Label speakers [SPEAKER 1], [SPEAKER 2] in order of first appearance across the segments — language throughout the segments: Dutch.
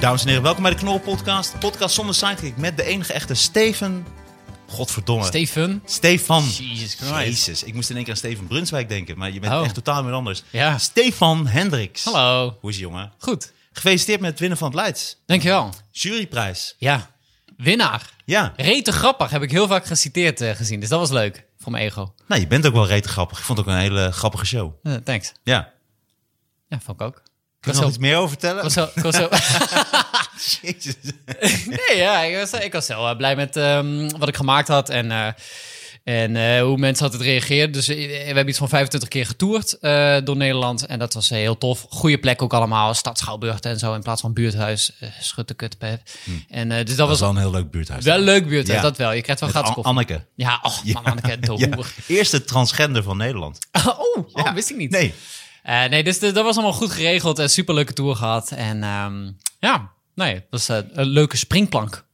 [SPEAKER 1] Dames en heren, welkom bij de Knol Podcast. Podcast zonder sidekick met de enige echte Steven. Godverdomme.
[SPEAKER 2] Steven?
[SPEAKER 1] Stefan.
[SPEAKER 2] Jesus Christ.
[SPEAKER 1] Jezus, ik moest in één keer aan Steven Brunswijk denken, maar je bent
[SPEAKER 2] Oh.
[SPEAKER 1] echt totaal iemand anders.
[SPEAKER 2] Ja.
[SPEAKER 1] Stefan Hendricks.
[SPEAKER 2] Hallo.
[SPEAKER 1] Hoe is je jongen?
[SPEAKER 2] Goed,
[SPEAKER 1] Gefeliciteerd met het winnen van het Leids.
[SPEAKER 2] dankjewel.
[SPEAKER 1] Juryprijs.
[SPEAKER 2] Ja, winnaar.
[SPEAKER 1] Ja.
[SPEAKER 2] Rete grappig, heb ik heel vaak geciteerd eh, gezien. Dus dat was leuk, voor mijn ego.
[SPEAKER 1] Nou, je bent ook wel rete grappig. Ik vond het ook een hele grappige show.
[SPEAKER 2] Eh, thanks.
[SPEAKER 1] Ja.
[SPEAKER 2] Ja, vond ik ook. Ik
[SPEAKER 1] Kun
[SPEAKER 2] was
[SPEAKER 1] je nog
[SPEAKER 2] zo...
[SPEAKER 1] iets meer over
[SPEAKER 2] ik
[SPEAKER 1] vertellen?
[SPEAKER 2] was zo, ik was zo
[SPEAKER 1] Jezus.
[SPEAKER 2] nee, ja, ik was, ik was heel eh, blij met ehm, wat ik gemaakt had en, eh, en eh, hoe mensen hadden reageerd. Dus eh, we hebben iets van 25 keer getoerd eh, door Nederland en dat was eh, heel tof. Goede plek ook allemaal, Stadschouwburg en zo in plaats van buurthuis, eh schutte kutpep. En eh,
[SPEAKER 1] Hm.
[SPEAKER 2] dus dat,
[SPEAKER 1] Dat was
[SPEAKER 2] was
[SPEAKER 1] wel een heel leuk buurthuis.
[SPEAKER 2] wel leuk buurthuis,
[SPEAKER 1] Ja.
[SPEAKER 2] dat wel. Je krijgt wel
[SPEAKER 1] Met
[SPEAKER 2] gratis
[SPEAKER 1] An-
[SPEAKER 2] koffie.
[SPEAKER 1] Anneke.
[SPEAKER 2] Ja, oh man, Anneke, de
[SPEAKER 1] Ja.
[SPEAKER 2] hoer.
[SPEAKER 1] Eerste transgender van Nederland.
[SPEAKER 2] Oh, oh,
[SPEAKER 1] Ja.
[SPEAKER 2] wist ik niet.
[SPEAKER 1] Nee.
[SPEAKER 2] Eh, nee, dus de- dat was allemaal goed geregeld en superleuke tour gehad. En ehm, ja, nee, dat was eh, een leuke springplank.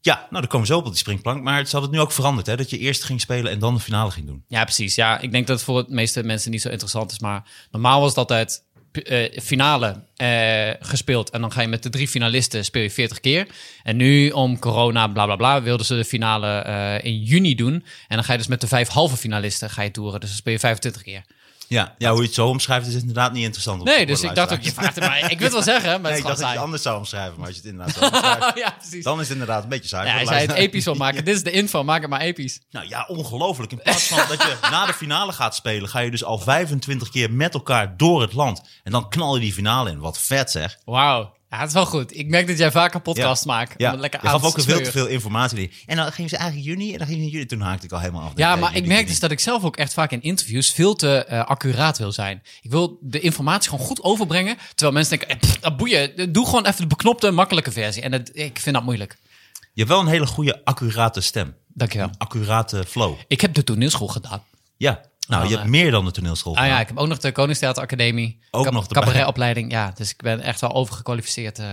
[SPEAKER 1] Ja, nou, dan komen ze op op die springplank. Maar ze hadden het nu ook veranderd, hè? Dat je eerst ging spelen en dan de finale ging doen.
[SPEAKER 2] Ja, precies. Ja, ik denk dat het voor het meeste mensen niet zo interessant is. Maar normaal was het altijd eh, finale eh, gespeeld. En dan ga je met de drie finalisten speel je 40 keer. En nu om corona, bla bla bla, wilden ze de finale eh, in juni doen. En dan ga je dus met de vijf halve finalisten ga je toeren. Dus dan speel je 25 keer.
[SPEAKER 1] Ja, ja Nou, hoe je het zo omschrijft is inderdaad niet interessant. om-
[SPEAKER 2] Nee,
[SPEAKER 1] voor de
[SPEAKER 2] dus ik dacht ook, je
[SPEAKER 1] luisteraars.
[SPEAKER 2] vraagt het mij. Ik wil het wel zeggen, maar
[SPEAKER 1] Nee,
[SPEAKER 2] het
[SPEAKER 1] ik
[SPEAKER 2] is
[SPEAKER 1] dacht
[SPEAKER 2] gewoon
[SPEAKER 1] dat je het anders
[SPEAKER 2] saai.
[SPEAKER 1] zou omschrijven, maar als je het inderdaad zo omschrijft,
[SPEAKER 2] Ja, precies.
[SPEAKER 1] dan is het inderdaad een beetje saai.
[SPEAKER 2] Ja,
[SPEAKER 1] voor
[SPEAKER 2] hij
[SPEAKER 1] de
[SPEAKER 2] zei het
[SPEAKER 1] luisteraar.
[SPEAKER 2] episch wil maken. Dit is de info, maak het maar episch.
[SPEAKER 1] Nou ja, ongelooflijk. In plaats van dat je na de finale gaat spelen, ga je dus al 25 keer met elkaar door het land. En dan knal je die finale in. Wat vet zeg.
[SPEAKER 2] Wauw. Ja, het is wel goed. Ik merk dat jij vaker podcast maakt.
[SPEAKER 1] Ja,
[SPEAKER 2] Om het lekker
[SPEAKER 1] je
[SPEAKER 2] aan
[SPEAKER 1] gaf
[SPEAKER 2] te
[SPEAKER 1] ook veel te
[SPEAKER 2] smeuren.
[SPEAKER 1] veel informatie. in. En dan ging ze eigenlijk juni en dan ging ze juni. Toen haakte ik al helemaal af.
[SPEAKER 2] Ja,
[SPEAKER 1] Nee,
[SPEAKER 2] maar
[SPEAKER 1] juni,
[SPEAKER 2] ik merk
[SPEAKER 1] juni.
[SPEAKER 2] dus dat ik zelf ook echt vaak in interviews veel te eh, accuraat wil zijn. Ik wil de informatie gewoon goed overbrengen. Terwijl mensen denken, eh, pff, ah, boeien, doe gewoon even de beknopte, makkelijke versie. En dat, ik vind dat moeilijk.
[SPEAKER 1] Je hebt wel een hele goede, accurate stem.
[SPEAKER 2] Dankjewel.
[SPEAKER 1] Accurate flow.
[SPEAKER 2] Ik heb de toneelschool gedaan.
[SPEAKER 1] Ja, nou,
[SPEAKER 2] Dan,
[SPEAKER 1] je hebt
[SPEAKER 2] eh,
[SPEAKER 1] meer dan de toneelschool.
[SPEAKER 2] Ah ja,
[SPEAKER 1] gedaan.
[SPEAKER 2] ik heb ook nog de Koningstheateracademie.
[SPEAKER 1] Ook
[SPEAKER 2] Cab-
[SPEAKER 1] nog erbij.
[SPEAKER 2] Cabaretopleiding, ja. Dus ik ben echt wel overgekwalificeerd eh,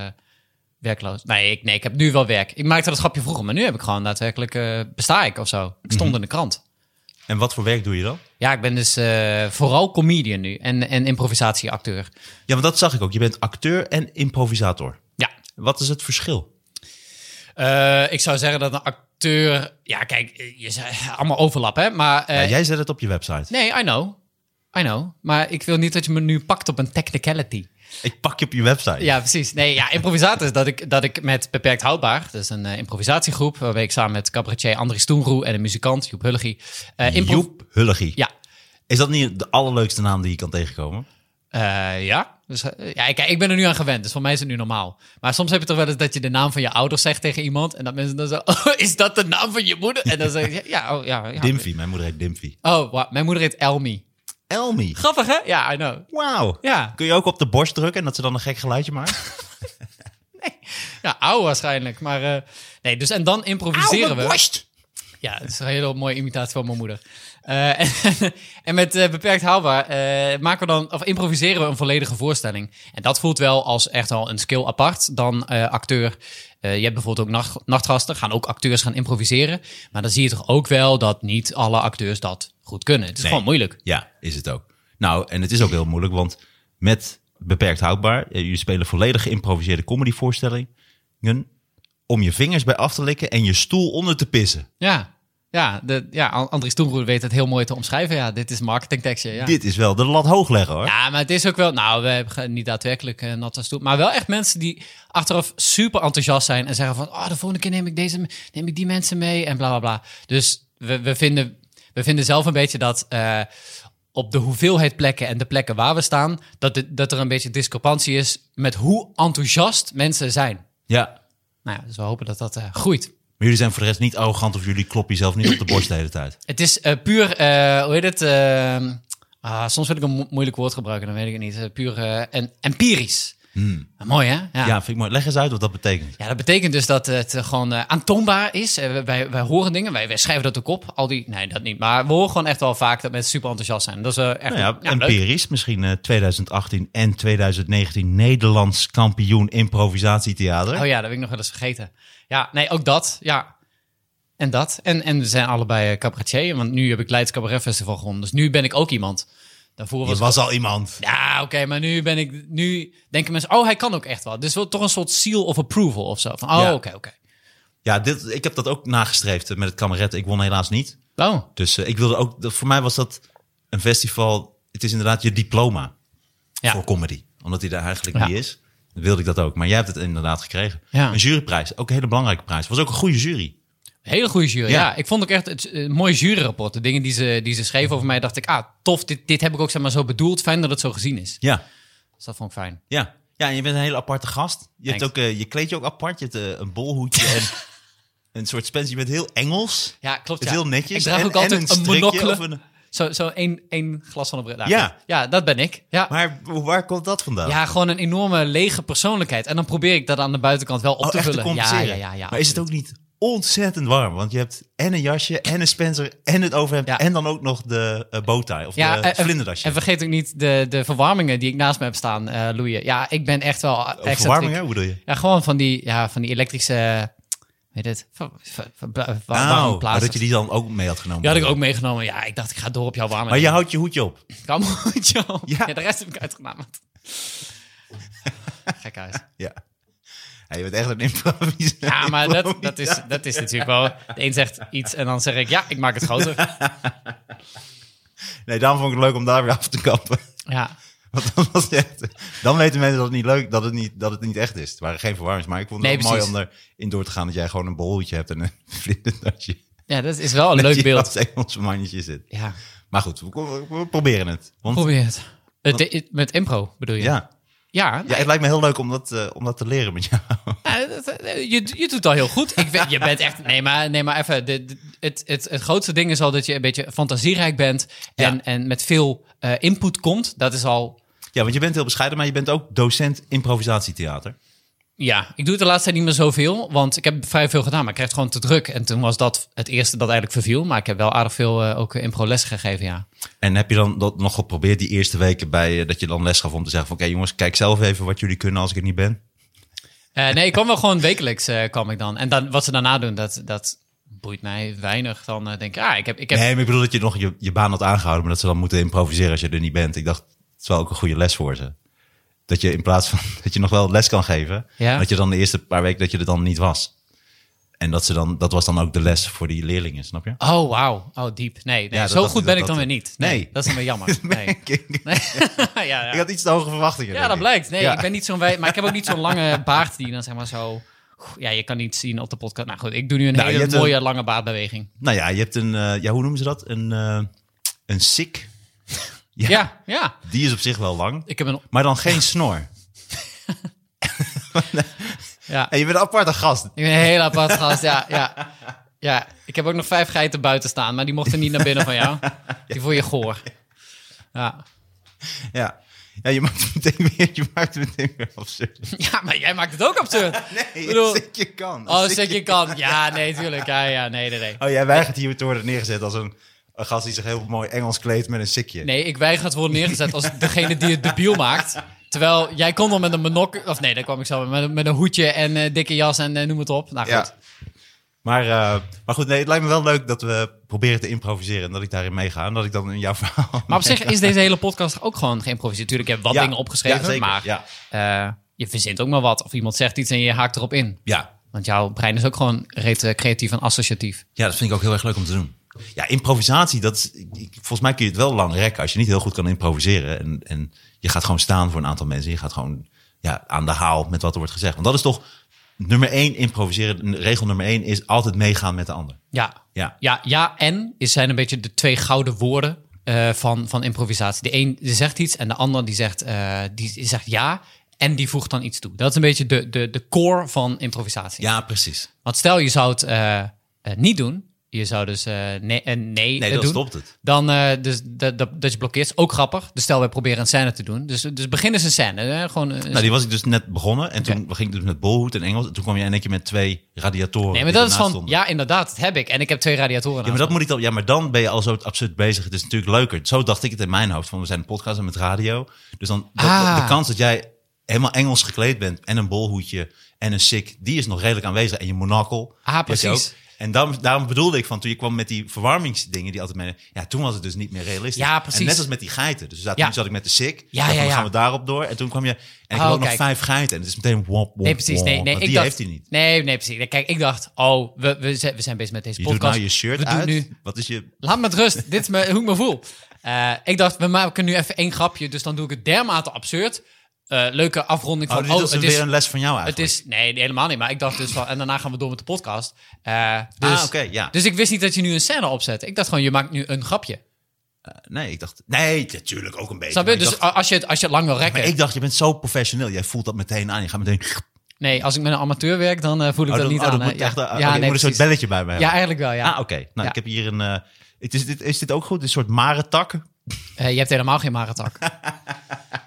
[SPEAKER 2] werkloos. Nee ik, nee, ik heb nu wel werk. Ik maakte dat grapje vroeger, maar nu heb ik gewoon daadwerkelijk... eh, besta ik of zo.
[SPEAKER 1] Mhm.
[SPEAKER 2] Ik stond in de krant.
[SPEAKER 1] En wat voor werk doe je dan?
[SPEAKER 2] Ja, ik ben dus eh, vooral comedian nu. En, en improvisatieacteur.
[SPEAKER 1] Ja, want dat zag ik ook. Je bent acteur en improvisator.
[SPEAKER 2] Ja.
[SPEAKER 1] Wat is het verschil?
[SPEAKER 2] Eh, ik zou zeggen dat een acteur... Ja, kijk, eh, je zei allemaal overlap, hè. Maar eh,
[SPEAKER 1] Ja, jij zet het op je website.
[SPEAKER 2] nee, I know. I know. Maar ik wil niet dat je me nu pakt op een technicality.
[SPEAKER 1] Ik pak je op je website.
[SPEAKER 2] Ja, precies. Nee, ja, improvisator is dat ik, dat ik met Beperkt Houdbaar, dat is een eh, improvisatiegroep, waarbij ik samen met cabaretier Andries Toenroe en een muzikant Joep Hulligie. eh improv-
[SPEAKER 1] Joep Hulligie.
[SPEAKER 2] Ja.
[SPEAKER 1] Is dat niet de allerleukste naam die je kan tegenkomen?
[SPEAKER 2] Eh, ja. Dus, eh, ja, kijk, ik ben er nu aan gewend, dus voor mij is het nu normaal. Maar soms heb je toch wel eens dat je de naam van je ouders zegt tegen iemand en dat mensen dan zo, oh, is dat de naam van je moeder? En dan zeg je, ja, oh, ja. ja.
[SPEAKER 1] Dimfy. Mijn moeder heet Dimfy.
[SPEAKER 2] Oh, wa- mijn moeder heet Elmi.
[SPEAKER 1] Elmi.
[SPEAKER 2] Grappig, hè? Ja, I know.
[SPEAKER 1] Wauw.
[SPEAKER 2] Ja,
[SPEAKER 1] Kun je ook op de borst drukken en dat ze dan een gek geluidje maakt?
[SPEAKER 2] ja ouw waarschijnlijk. Maar eh, nee, dus en dan improviseren we.
[SPEAKER 1] borst.
[SPEAKER 2] Ja, het is een hele mooie imitatie van mijn moeder. Eh, en, en met eh, beperkt haalbaar eh, maken we dan, of improviseren we een volledige voorstelling. En dat voelt wel als echt al een skill apart dan eh, acteur. Eh, je hebt bijvoorbeeld ook nacht, nachtgasten, gaan ook acteurs gaan improviseren. Maar dan zie je toch ook wel dat niet alle acteurs dat goed kunnen. Het is
[SPEAKER 1] Nee.
[SPEAKER 2] gewoon moeilijk.
[SPEAKER 1] Ja, is het ook. Nou, en het is ook heel moeilijk, want met beperkt houdbaar, eh, jullie spelen volledig geïmproviseerde comedyvoorstellingen om je vingers bij af te likken en je stoel onder te pissen.
[SPEAKER 2] Ja, ja, de, ja An- Andries Toenbroer weet het heel mooi te omschrijven. Ja, dit is marketingtekstje. Ja.
[SPEAKER 1] Dit is wel de lat hoog leggen hoor.
[SPEAKER 2] Ja, maar het is ook wel. Nou, we hebben ge- niet daadwerkelijk eh natte stoel. Maar wel echt mensen die achteraf super enthousiast zijn. En zeggen van. Oh, de volgende keer neem ik, deze, me- neem ik die mensen mee. En bla bla bla. Dus we, we, vinden, we vinden zelf een beetje dat. eh, op de hoeveelheid plekken en de plekken waar we staan. Dat, het- dat er een beetje discrepantie is. met hoe enthousiast mensen zijn.
[SPEAKER 1] ja.
[SPEAKER 2] Nou ja, dus we hopen dat dat eh, groeit.
[SPEAKER 1] Maar jullie zijn voor de rest niet arrogant of jullie kloppen jezelf niet op de borst de hele tijd.
[SPEAKER 2] Het is eh, puur, eh, hoe heet het? ehm, eh, ah, soms wil ik een mo- moeilijk woord gebruiken, dan weet ik het niet. Eh, puur eh, en empirisch. Mooi, hè? Ja.
[SPEAKER 1] Hmm. Ja,
[SPEAKER 2] ja.
[SPEAKER 1] vind ik mooi. Leg eens uit wat dat betekent.
[SPEAKER 2] dat betekent dus dat het eh, gewoon eh, aantoonbaar is. Eh, we- wij, wij horen dingen, wij, wij schrijven dat ook op. Al die, nee, dat niet. Maar we horen gewoon echt wel vaak dat mensen super enthousiast zijn. Dat is eh, echt
[SPEAKER 1] Nou ja,
[SPEAKER 2] ja, leuk.
[SPEAKER 1] empirisch. Misschien eh, 2018 en 2019 Nederlands kampioen improvisatietheater.
[SPEAKER 2] Oh ja, dat heb ik nog wel eens vergeten. Ja, nee, ook dat. Ja. En dat. En, en we zijn allebei eh, cabaretier. Want nu heb ik Leids Cabaret Festival gewonnen. Dus nu ben ik ook iemand. Daarvoor
[SPEAKER 1] Je
[SPEAKER 2] was
[SPEAKER 1] was al iemand.
[SPEAKER 2] Ja, oké, maar nu ben ik... Nu denken mensen, oh, hij kan ook echt wel. Dus wel toch een soort seal of approval of zo. Van, oh, oké,
[SPEAKER 1] Ja.
[SPEAKER 2] oké.
[SPEAKER 1] Ja, dit, ik heb dat ook nagestreefd met het kameretten. Ik won helaas niet.
[SPEAKER 2] Oh,
[SPEAKER 1] Dus eh, ik wilde ook, dat- voor mij was dat een festival. Het is inderdaad je diploma
[SPEAKER 2] Ja.
[SPEAKER 1] voor comedy. Omdat die daar eigenlijk
[SPEAKER 2] Ja.
[SPEAKER 1] niet is. Wilde ik dat ook. Maar jij hebt het inderdaad gekregen.
[SPEAKER 2] Ja.
[SPEAKER 1] Een juryprijs. Ook een hele belangrijke prijs. Was ook een goede jury.
[SPEAKER 2] hele goede jury. Ja.
[SPEAKER 1] Ja.
[SPEAKER 2] ik vond ook echt het eh, mooie juryrapport. De dingen die ze, die ze schreven over mij, dacht ik... Ah, tof, dit, dit heb ik ook zeg maar, zo bedoeld. Fijn dat het zo gezien is.
[SPEAKER 1] Ja.
[SPEAKER 2] Dus dat vond ik fijn.
[SPEAKER 1] Ja. Ja, en je bent een hele aparte gast. Je, hebt ook,
[SPEAKER 2] Thanks.
[SPEAKER 1] eh, je kleed je ook apart. Je hebt eh, een bolhoedje en een soort spens. Je bent heel Engels.
[SPEAKER 2] Ja, klopt.
[SPEAKER 1] Het
[SPEAKER 2] ja.
[SPEAKER 1] is heel netjes.
[SPEAKER 2] Ik draag
[SPEAKER 1] En-
[SPEAKER 2] ook
[SPEAKER 1] en
[SPEAKER 2] altijd
[SPEAKER 1] een
[SPEAKER 2] een,
[SPEAKER 1] strikje
[SPEAKER 2] monocle.
[SPEAKER 1] of een-
[SPEAKER 2] Zo, zo één, één glas van een bril. Nou,
[SPEAKER 1] Ja.
[SPEAKER 2] goed. ja, dat ben ik. Ja.
[SPEAKER 1] Maar waar komt dat vandaan?
[SPEAKER 2] ja, gewoon een enorme lege persoonlijkheid. En dan probeer ik dat aan de buitenkant wel op
[SPEAKER 1] Oh,
[SPEAKER 2] te
[SPEAKER 1] echt te
[SPEAKER 2] vullen. ja,
[SPEAKER 1] compenseren.
[SPEAKER 2] ja, ja, ja.
[SPEAKER 1] maar is het ook niet ontzettend warm? Want je hebt en een jasje, en een Spencer, en het overhemd,
[SPEAKER 2] Ja.
[SPEAKER 1] en dan ook nog de eh, bowtie of de
[SPEAKER 2] en- en-
[SPEAKER 1] vlinderdasje.
[SPEAKER 2] En vergeet ook niet de, de verwarmingen die ik naast me heb staan, eh loeien. Ja, ik ben echt wel
[SPEAKER 1] Of
[SPEAKER 2] extra.
[SPEAKER 1] verwarming, hè? Hoe bedoel je?
[SPEAKER 2] Ja, gewoon van die, ja, van die elektrische, weet het, ver, ver, ver, ver-
[SPEAKER 1] Nou, maar
[SPEAKER 2] warmplaatsen.
[SPEAKER 1] dat je die dan ook mee had genomen.
[SPEAKER 2] Die had ik ook meegenomen. Ja, ik dacht, ik ga door op jouw warme.
[SPEAKER 1] Maar je houdt je hoedje op.
[SPEAKER 2] Kan goed, joh. Ja.
[SPEAKER 1] Ja.
[SPEAKER 2] de rest heb ik uitgenameld. Gek uit.
[SPEAKER 1] Ja. Ja, je bent echt een improvisatie.
[SPEAKER 2] Ja, maar dat, dat, is, dat is natuurlijk wel... De een zegt iets en dan zeg ik, ja, ik maak het groter.
[SPEAKER 1] Nee, daarom vond ik het leuk om daar weer af te kappen.
[SPEAKER 2] Ja,
[SPEAKER 1] Want dan, was het echt, dan weten mensen dat het niet leuk dat het niet, dat het niet echt is. Het waren geen verwarmings, maar ik vond het
[SPEAKER 2] Nee,
[SPEAKER 1] wel mooi
[SPEAKER 2] precies.
[SPEAKER 1] om erin door te gaan dat jij gewoon een bolhoedje hebt en een vlinderdasje.
[SPEAKER 2] ja dat is wel een leuk
[SPEAKER 1] Dat
[SPEAKER 2] beeld.
[SPEAKER 1] je als Engels mannetje zit.
[SPEAKER 2] Ja,
[SPEAKER 1] Maar goed, we, we- we proberen het. Want
[SPEAKER 2] probeer het. Het- het- Met impro bedoel je?
[SPEAKER 1] ja.
[SPEAKER 2] Ja,
[SPEAKER 1] ja, het lijkt me heel leuk om dat, eh, om dat te leren met jou.
[SPEAKER 2] Ja, dat- dat- je, je doet al heel goed. Ik vind, je bent echt. Nee, maar, nee, maar even. de- de- het, het, het grootste ding is al dat je een beetje fantasierijk bent. En,
[SPEAKER 1] Ja.
[SPEAKER 2] en met veel eh, input komt. Dat is al.
[SPEAKER 1] Ja, want je bent heel bescheiden, maar je bent ook docent improvisatietheater.
[SPEAKER 2] Ja, ik doe het de laatste tijd niet meer zoveel. Want ik heb vrij veel gedaan. Maar ik kreeg het gewoon te druk. En toen was dat het eerste dat eigenlijk verviel. Maar ik heb wel aardig veel eh, ook impro les gegeven. Ja.
[SPEAKER 1] En heb je dan dat nog geprobeerd die eerste weken bij eh, dat je dan les gaf om te zeggen van oké jongens, kijk zelf even wat jullie kunnen als ik er niet ben.
[SPEAKER 2] Eh, nee, ik kwam wel gewoon wekelijks. eh, kwam ik dan. En dan, wat ze daarna doen, dat, dat boeit mij weinig. Dan eh, denk ik, ah, ik heb. Ik heb
[SPEAKER 1] Nee, maar ik bedoel dat je nog je, je baan had aangehouden, maar dat ze dan moeten improviseren als je er niet bent. Ik dacht, het is wel ook een goede les voor ze. Dat je in plaats van dat je nog wel les kan geven,
[SPEAKER 2] Ja.
[SPEAKER 1] dat je dan de eerste paar weken dat je er dan niet was. En dat, ze dan, dat was dan ook de les voor die leerlingen, snap je?
[SPEAKER 2] Oh, wauw. Oh, diep. Nee, nee.
[SPEAKER 1] Ja, dat
[SPEAKER 2] zo
[SPEAKER 1] dacht
[SPEAKER 2] goed
[SPEAKER 1] ik
[SPEAKER 2] ben
[SPEAKER 1] dat
[SPEAKER 2] ik dan
[SPEAKER 1] dat-
[SPEAKER 2] weer niet. Nee,
[SPEAKER 1] Nee.
[SPEAKER 2] Dat is dan weer jammer. Nee.
[SPEAKER 1] Ik-
[SPEAKER 2] Nee. ja, ja.
[SPEAKER 1] Ik had iets te hoge verwachtingen.
[SPEAKER 2] ja,
[SPEAKER 1] denk
[SPEAKER 2] dat
[SPEAKER 1] ik.
[SPEAKER 2] blijkt. Nee,
[SPEAKER 1] Ja.
[SPEAKER 2] ik ben niet zo'n wij, maar ik heb ook niet zo'n lange baard die dan zeg maar zo. Ja, je kan niet zien op de podcast. Nou goed, ik doe nu een
[SPEAKER 1] Nou, je
[SPEAKER 2] hele
[SPEAKER 1] hebt een-
[SPEAKER 2] mooie lange baardbeweging.
[SPEAKER 1] Nou ja, je hebt een, eh, ja, hoe noemen ze dat? Een, eh een sik. Ja,
[SPEAKER 2] Ja. ja,
[SPEAKER 1] Die is op zich wel lang,
[SPEAKER 2] Ik heb een.
[SPEAKER 1] maar dan geen snor.
[SPEAKER 2] Ja.
[SPEAKER 1] En je bent een aparte gast.
[SPEAKER 2] Ik ben een heel apart gast. Ja, ja. Ja, ik heb ook nog vijf geiten buiten staan, maar die mochten niet naar binnen van jou. Die voel je goor. Ja.
[SPEAKER 1] Ja, ja je maakt het meteen weer, je maakt het meteen weer absurd.
[SPEAKER 2] ja, maar jij maakt het ook absurd.
[SPEAKER 1] Nee,
[SPEAKER 2] bedoel-
[SPEAKER 1] een sikje kan.
[SPEAKER 2] Oh, zeg je kan. Ja, nee, tuurlijk. Ja, ja, nee, nee, nee.
[SPEAKER 1] Oh, jij weigert hier te worden neergezet als een, een gast die zich heel mooi Engels kleedt met een sikje.
[SPEAKER 2] Nee, ik weiger het worden neergezet als degene die het debiel maakt. Terwijl jij kon dan met een monok... Of nee, daar kwam ik zo met, een- met een hoedje en eh, dikke jas en eh, noem het op. Nou
[SPEAKER 1] Ja.
[SPEAKER 2] goed.
[SPEAKER 1] Maar, eh, maar goed, nee, het lijkt me wel leuk dat we proberen te improviseren en dat ik daarin meega. En dat ik dan in jouw verhaal...
[SPEAKER 2] Maar op zich is deze hele podcast ook gewoon geïmproviseerd. Tuurlijk, ik heb wat
[SPEAKER 1] Ja,
[SPEAKER 2] dingen opgeschreven,
[SPEAKER 1] ja, zeker,
[SPEAKER 2] maar
[SPEAKER 1] Ja,
[SPEAKER 2] eh, je verzint ook maar wat. Of iemand zegt iets en je haakt erop in.
[SPEAKER 1] ja.
[SPEAKER 2] Want jouw brein is ook gewoon reet eh, creatief en associatief.
[SPEAKER 1] ja, dat vind ik ook heel erg leuk om te doen. Ja, improvisatie, dat is, ik- ik- volgens mij kun je het wel lang rekken als je niet heel goed kan improviseren. En, en je gaat gewoon staan voor een aantal mensen. Je gaat gewoon ja, aan de haal met wat er wordt gezegd. Want dat is toch nummer één improviseren. Regel nummer één is altijd meegaan met de ander.
[SPEAKER 2] Ja.
[SPEAKER 1] Ja.
[SPEAKER 2] Ja, ja en is zijn een beetje de twee gouden woorden eh, van, van improvisatie. De een die zegt iets en de ander die zegt, eh, die zegt ja en die voegt dan iets toe. Dat is een beetje de, de, de core van improvisatie.
[SPEAKER 1] Ja, precies.
[SPEAKER 2] Want stel je zou het eh, eh, niet doen, je zou dus eh, nee, en nee, eh,
[SPEAKER 1] Nee, dan
[SPEAKER 2] doen.
[SPEAKER 1] stopt het.
[SPEAKER 2] Dan, eh, dus dat, dat, dat je blokkeert. Is Ook grappig. Dus stel, wij proberen een scène te doen. Dus, dus begin eens een scène. Hè? Gewoon, eh, een-
[SPEAKER 1] Nou, die was ik dus net begonnen. En toen ging ik dus met bolhoed en Engels. En toen kwam je in één keer met twee radiatoren.
[SPEAKER 2] nee, maar
[SPEAKER 1] die
[SPEAKER 2] dat is
[SPEAKER 1] ernaast
[SPEAKER 2] van,
[SPEAKER 1] stonden.
[SPEAKER 2] ja, inderdaad, dat heb ik. En ik heb twee radiatoren
[SPEAKER 1] Ja, maar dat
[SPEAKER 2] naast
[SPEAKER 1] moet ik dan. Ja, maar dan ben je al zo absurd bezig. Het is natuurlijk leuker. Zo dacht ik het in mijn hoofd. Van we zijn een podcast en met radio. Dus dan dat-
[SPEAKER 2] Ah.
[SPEAKER 1] de kans dat jij helemaal Engels gekleed bent en een bolhoedje en een sik, die is nog redelijk aanwezig. En je monocle.
[SPEAKER 2] Ah,
[SPEAKER 1] die had je
[SPEAKER 2] precies.
[SPEAKER 1] ook. En daarom, daarom bedoelde ik van toen je kwam met die verwarmingsdingen die altijd mee. Ja, toen was het dus niet meer realistisch.
[SPEAKER 2] Ja, precies.
[SPEAKER 1] En net als met die geiten. Dus we zaten,
[SPEAKER 2] Ja.
[SPEAKER 1] toen zat ik met de sik.
[SPEAKER 2] Ja,
[SPEAKER 1] Dacht,
[SPEAKER 2] ja,
[SPEAKER 1] dan
[SPEAKER 2] ja.
[SPEAKER 1] gaan we daarop door. En toen kwam je. En ik
[SPEAKER 2] Oh,
[SPEAKER 1] had ook nog
[SPEAKER 2] kijk.
[SPEAKER 1] vijf geiten. En het is meteen wop, wop,
[SPEAKER 2] Nee, precies. Nee,
[SPEAKER 1] wop,
[SPEAKER 2] nee,
[SPEAKER 1] want
[SPEAKER 2] ik
[SPEAKER 1] Oh, die
[SPEAKER 2] dacht,
[SPEAKER 1] heeft hij niet.
[SPEAKER 2] Nee, nee, precies. Kijk, ik dacht, oh, we, we, zijn, we zijn bezig met deze
[SPEAKER 1] Je doet
[SPEAKER 2] podcast.
[SPEAKER 1] nou je shirt
[SPEAKER 2] we doen
[SPEAKER 1] uit.
[SPEAKER 2] nu
[SPEAKER 1] Wat is je
[SPEAKER 2] Laat me met rust. Dit is me, hoe ik me voel. Eh, ik dacht, we maken nu even één grapje. Dus dan doe ik het dermate absurd. Eh, leuke afronding
[SPEAKER 1] Oh,
[SPEAKER 2] van...
[SPEAKER 1] dus dat is
[SPEAKER 2] het
[SPEAKER 1] weer
[SPEAKER 2] is,
[SPEAKER 1] een les van jou eigenlijk.
[SPEAKER 2] het is... Nee, helemaal niet. Maar ik dacht dus van... En daarna gaan we door met de podcast. Eh, dus,
[SPEAKER 1] ah, oké, ja.
[SPEAKER 2] dus ik wist niet dat je nu een scène opzet. Ik dacht gewoon, je maakt nu een grapje.
[SPEAKER 1] nee, ik dacht... Nee, natuurlijk ook een beetje.
[SPEAKER 2] Snap
[SPEAKER 1] maar
[SPEAKER 2] je?
[SPEAKER 1] ik
[SPEAKER 2] Dus
[SPEAKER 1] dacht-
[SPEAKER 2] a- als je, het, als je het lang wil rekken...
[SPEAKER 1] maar ik dacht, je bent zo professioneel. Jij voelt dat meteen aan. Je gaat meteen...
[SPEAKER 2] Nee, als ik met een amateur werk, dan eh, voel ik
[SPEAKER 1] Oh,
[SPEAKER 2] dat
[SPEAKER 1] dan-
[SPEAKER 2] niet
[SPEAKER 1] oh,
[SPEAKER 2] aan.
[SPEAKER 1] dat
[SPEAKER 2] hè.
[SPEAKER 1] moet
[SPEAKER 2] ja,
[SPEAKER 1] echt,
[SPEAKER 2] ja,
[SPEAKER 1] ja, ik moet een soort
[SPEAKER 2] precies.
[SPEAKER 1] belletje bij me hebben.
[SPEAKER 2] Ja, eigenlijk wel, ja.
[SPEAKER 1] Ah, oké. Nou,
[SPEAKER 2] Ja.
[SPEAKER 1] ik heb hier een... eh, het is, dit, is dit ook goed? Een soort marentak?
[SPEAKER 2] Eh, je hebt helemaal geen maratak.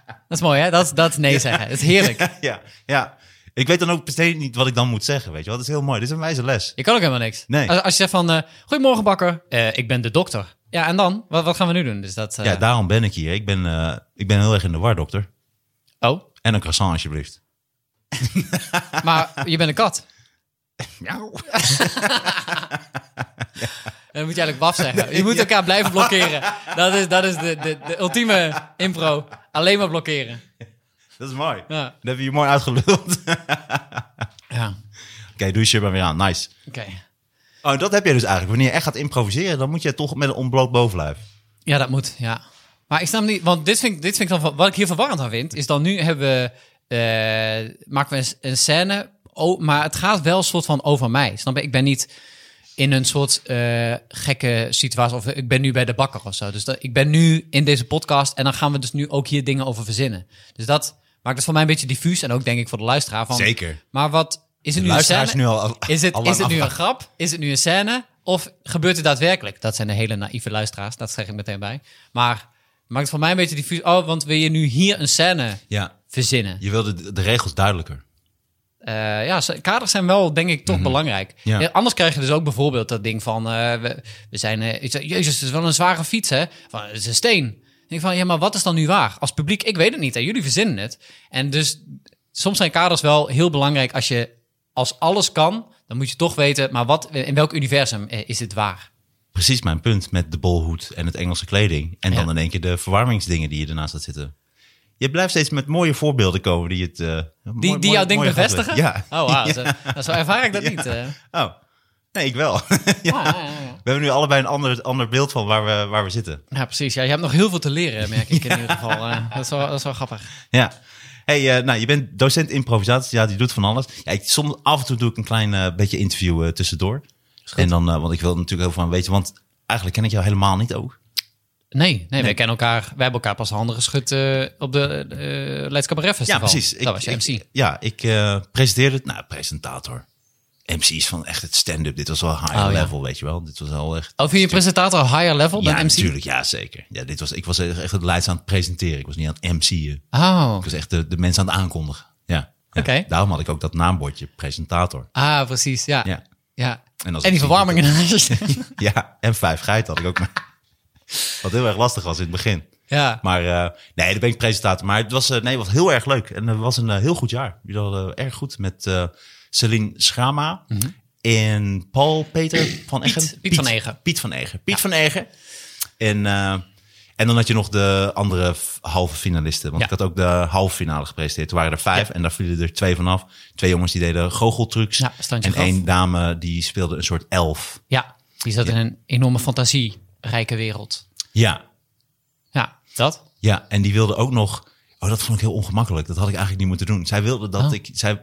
[SPEAKER 2] dat is mooi, hè? Dat, dat is nee zeggen. Dat is heerlijk.
[SPEAKER 1] ja, ja. Ik weet dan ook meteen niet wat ik dan moet zeggen, weet je wel. Dat is heel mooi. Dit is een wijze les.
[SPEAKER 2] Je kan ook helemaal niks.
[SPEAKER 1] Nee.
[SPEAKER 2] Als, als je zegt van, eh, goedemorgen bakker, Eh, ik ben de dokter. Ja, en dan? Wat, wat gaan we nu doen? Dus dat, eh,
[SPEAKER 1] Ja, daarom ben ik hier. Ik ben, eh, ik ben heel erg in de war, dokter.
[SPEAKER 2] Oh,
[SPEAKER 1] En een croissant, alsjeblieft.
[SPEAKER 2] maar je bent een kat.
[SPEAKER 1] Miauw.
[SPEAKER 2] Dan moet je eigenlijk waf zeggen. Je moet elkaar blijven blokkeren. Dat is, dat is de, de, de ultieme impro. Alleen maar blokkeren.
[SPEAKER 1] Dat is mooi.
[SPEAKER 2] Ja.
[SPEAKER 1] Dat heb je hier mooi uitgeluld. Oké,
[SPEAKER 2] Ja,
[SPEAKER 1] doe je shirt maar weer aan. Nice.
[SPEAKER 2] oké.
[SPEAKER 1] Oh, dat heb je dus eigenlijk. Wanneer je echt gaat improviseren, dan moet je toch met een ontbloot bovenlijf.
[SPEAKER 2] Ja, dat moet, ja. Maar ik snap niet, want dit vind, ik- dit vind ik dan... van- Wat ik hier verwarrend aan vind, is dan nu hebben we... eh, maken we een, s- een scène, oh, maar het gaat wel een soort van over mij. Snap je? Ik ben niet in een soort eh, gekke situatie... of ik ben nu bij de bakker of zo. Dus dat, ik ben nu in deze podcast... en dan gaan we dus nu ook hier dingen over verzinnen. Dus dat maakt het voor mij een beetje diffuus... en ook denk ik voor de luisteraar van...
[SPEAKER 1] Zeker.
[SPEAKER 2] Maar wat... Is het nu een
[SPEAKER 1] Luisteraars
[SPEAKER 2] scène?
[SPEAKER 1] nu al.
[SPEAKER 2] Is het,
[SPEAKER 1] al
[SPEAKER 2] is het nu
[SPEAKER 1] afgehaakt.
[SPEAKER 2] een grap? Is het nu een scène? Of gebeurt het daadwerkelijk? Dat zijn de hele naïeve luisteraars, dat zeg ik meteen bij. Maar maakt het voor mij een beetje diffuus. Oh, want wil je nu hier een scène
[SPEAKER 1] Ja,
[SPEAKER 2] verzinnen?
[SPEAKER 1] je wilde de, de regels duidelijker.
[SPEAKER 2] Eh, ja, z- kaders zijn wel, denk ik, toch belangrijk.
[SPEAKER 1] Mhm. Ja.
[SPEAKER 2] Ja, anders krijg je dus ook bijvoorbeeld dat ding van... eh, we, we zijn... eh, ik zeg, Jezus, het is wel een zware fiets, hè? Van, het is een steen. Ik denk van, ja, maar wat is dan nu waar? Als publiek, ik weet het niet. En jullie verzinnen het. En dus soms zijn kaders wel heel belangrijk. Als je als alles kan, dan moet je toch weten... maar wat, in welk universum eh, is dit waar?
[SPEAKER 1] Precies mijn punt met de bolhoed en het Engelse kleding. En dan
[SPEAKER 2] Ja.
[SPEAKER 1] in één keer de verwarmingsdingen die je ernaast had zitten. Je blijft steeds met mooie voorbeelden komen die het... eh, mooi-
[SPEAKER 2] Die, die
[SPEAKER 1] mooi-
[SPEAKER 2] jouw ding
[SPEAKER 1] mooie grap
[SPEAKER 2] bevestigen?
[SPEAKER 1] werd. Ja.
[SPEAKER 2] Oh, wauw. Zo, nou, zo ervaar ik dat niet. eh.
[SPEAKER 1] Oh, nee, ik wel. ja.
[SPEAKER 2] Ah, ja, ja, ja.
[SPEAKER 1] We hebben nu allebei een ander, ander beeld van waar we, waar we zitten.
[SPEAKER 2] Ja, precies. Ja, je hebt nog heel veel te leren, merk ik in ieder geval. Eh, dat, is wel, dat is wel grappig.
[SPEAKER 1] Ja. Hey, eh, nou, je bent docent improvisatie. Ja, die doet van alles. Ja, ik, soms, af en toe doe ik een klein eh, beetje interview eh, tussendoor. En dan, eh, want ik wil er natuurlijk heel veel van weten. Want eigenlijk ken ik jou helemaal niet ook.
[SPEAKER 2] Nee, nee, wij kennen elkaar. Wij hebben elkaar pas handen geschud eh, op de eh Leids Cabaret Festival.
[SPEAKER 1] Ja, precies.
[SPEAKER 2] dat was je MC.
[SPEAKER 1] Ik, ja, ik eh, presenteerde het. Nou, presentator. MC is van echt het stand-up. Dit was wel high
[SPEAKER 2] Oh, ja.
[SPEAKER 1] level, weet je wel. Dit was al echt...
[SPEAKER 2] oh, vind je presentator higher level
[SPEAKER 1] ja,
[SPEAKER 2] dan MC?
[SPEAKER 1] natuurlijk. Ja, zeker. Ja, dit was, ik was echt het lijst aan het presenteren. Ik was niet aan het MC'en.
[SPEAKER 2] Oh,
[SPEAKER 1] Ik was echt de, de mensen aan het aankondigen. Ja. ja.
[SPEAKER 2] Oké.
[SPEAKER 1] Daarom had ik ook dat naambordje, presentator.
[SPEAKER 2] ah, precies. Ja. ja.
[SPEAKER 1] Ja. En als
[SPEAKER 2] En
[SPEAKER 1] ik
[SPEAKER 2] die
[SPEAKER 1] zie
[SPEAKER 2] verwarming in huis.
[SPEAKER 1] Ja, en vijf geiten had ik ook maar. Wat heel erg lastig was in het begin.
[SPEAKER 2] ja.
[SPEAKER 1] Maar eh, nee, daar ben ik presentator. Maar het was, eh, nee, het was heel erg leuk. En het was een eh, heel goed jaar. Jullie hadden erg goed met eh Celine Schama. En Paul Peter van Eggen.
[SPEAKER 2] Mhm. Piet van Eggen.
[SPEAKER 1] Piet van Eggen. Piet van Eggen. En, eh, en dan had je nog de andere f- halve finalisten. Want
[SPEAKER 2] Ja.
[SPEAKER 1] ik had ook de halve finale gepresenteerd. Er waren er vijf en daar vielen er twee vanaf. Twee jongens die deden goocheltrucs.
[SPEAKER 2] Ja, standje
[SPEAKER 1] en
[SPEAKER 2] gaf.
[SPEAKER 1] één dame die speelde een soort elf.
[SPEAKER 2] ja, die zat in een enorme fantasierijke wereld.
[SPEAKER 1] Ja,
[SPEAKER 2] Ja, dat?
[SPEAKER 1] Ja, en die wilde ook nog. Oh, dat vond ik heel ongemakkelijk. Dat had ik eigenlijk niet moeten doen. Zij wilde dat
[SPEAKER 2] Oh.
[SPEAKER 1] ik. Zij,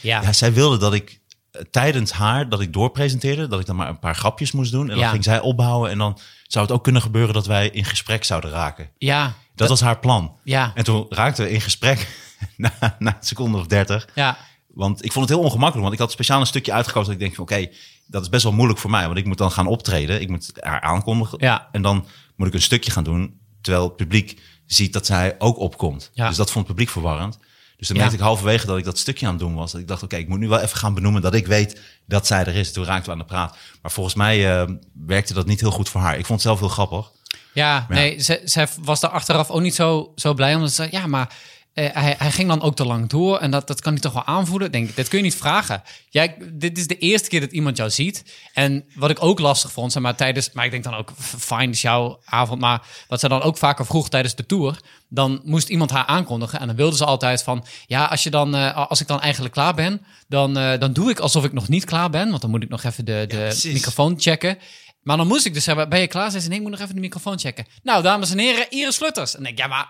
[SPEAKER 2] Ja.
[SPEAKER 1] ja. zij wilde dat ik eh, tijdens haar dat ik doorpresenteerde, dat ik dan maar een paar grapjes moest doen. En
[SPEAKER 2] Ja.
[SPEAKER 1] dan ging zij opbouwen. En dan zou het ook kunnen gebeuren dat wij in gesprek zouden raken.
[SPEAKER 2] Ja.
[SPEAKER 1] Dat was haar plan.
[SPEAKER 2] Ja.
[SPEAKER 1] En toen raakten we in gesprek na, na een seconde of dertig.
[SPEAKER 2] Ja.
[SPEAKER 1] Want ik vond het heel ongemakkelijk. Want ik had speciaal een stukje uitgekozen dat ik denk van... oké, dat is best wel moeilijk voor mij. Want ik moet dan gaan optreden. Ik moet haar aankondigen.
[SPEAKER 2] Ja.
[SPEAKER 1] En dan moet ik een stukje gaan doen... terwijl het publiek ziet dat zij ook opkomt.
[SPEAKER 2] Ja.
[SPEAKER 1] Dus dat vond het publiek verwarrend. Dus dan
[SPEAKER 2] Ja.
[SPEAKER 1] merkte ik halverwege dat ik dat stukje aan het doen was. Dat ik dacht, oké, ik moet nu wel even gaan benoemen dat ik weet dat zij er is. Toen raakten we aan de praat. Maar volgens mij eh, werkte dat niet heel goed voor haar. Ik vond het zelf heel grappig.
[SPEAKER 2] Ja,
[SPEAKER 1] Ja.
[SPEAKER 2] nee, zij, zij was daar achteraf ook niet zo, zo blij om. Ze zei, ja, maar eh, hij, hij ging dan ook te lang door. En dat, dat kan hij toch wel aanvoelen? Ik Denk, dat kun je niet vragen. Jij, dit is de eerste keer dat iemand jou ziet. En wat ik ook lastig vond, zeg maar tijdens... Maar ik denk dan ook, f- fijn, is jouw avond. Maar wat ze dan ook vaker vroeg tijdens de tour... dan moest iemand haar aankondigen. En dan wilde ze altijd van... ja, als, je dan, eh, als ik dan eigenlijk klaar ben... Dan, eh, dan doe ik alsof ik nog niet klaar ben. Want dan moet ik nog even de, de
[SPEAKER 1] precies.
[SPEAKER 2] microfoon checken. Maar dan moest ik dus zeggen, ben je klaar? Zei ze, nee, ik moet nog even de microfoon checken. Nou, dames en heren, Iris Flutters. En ik denk, ja, maar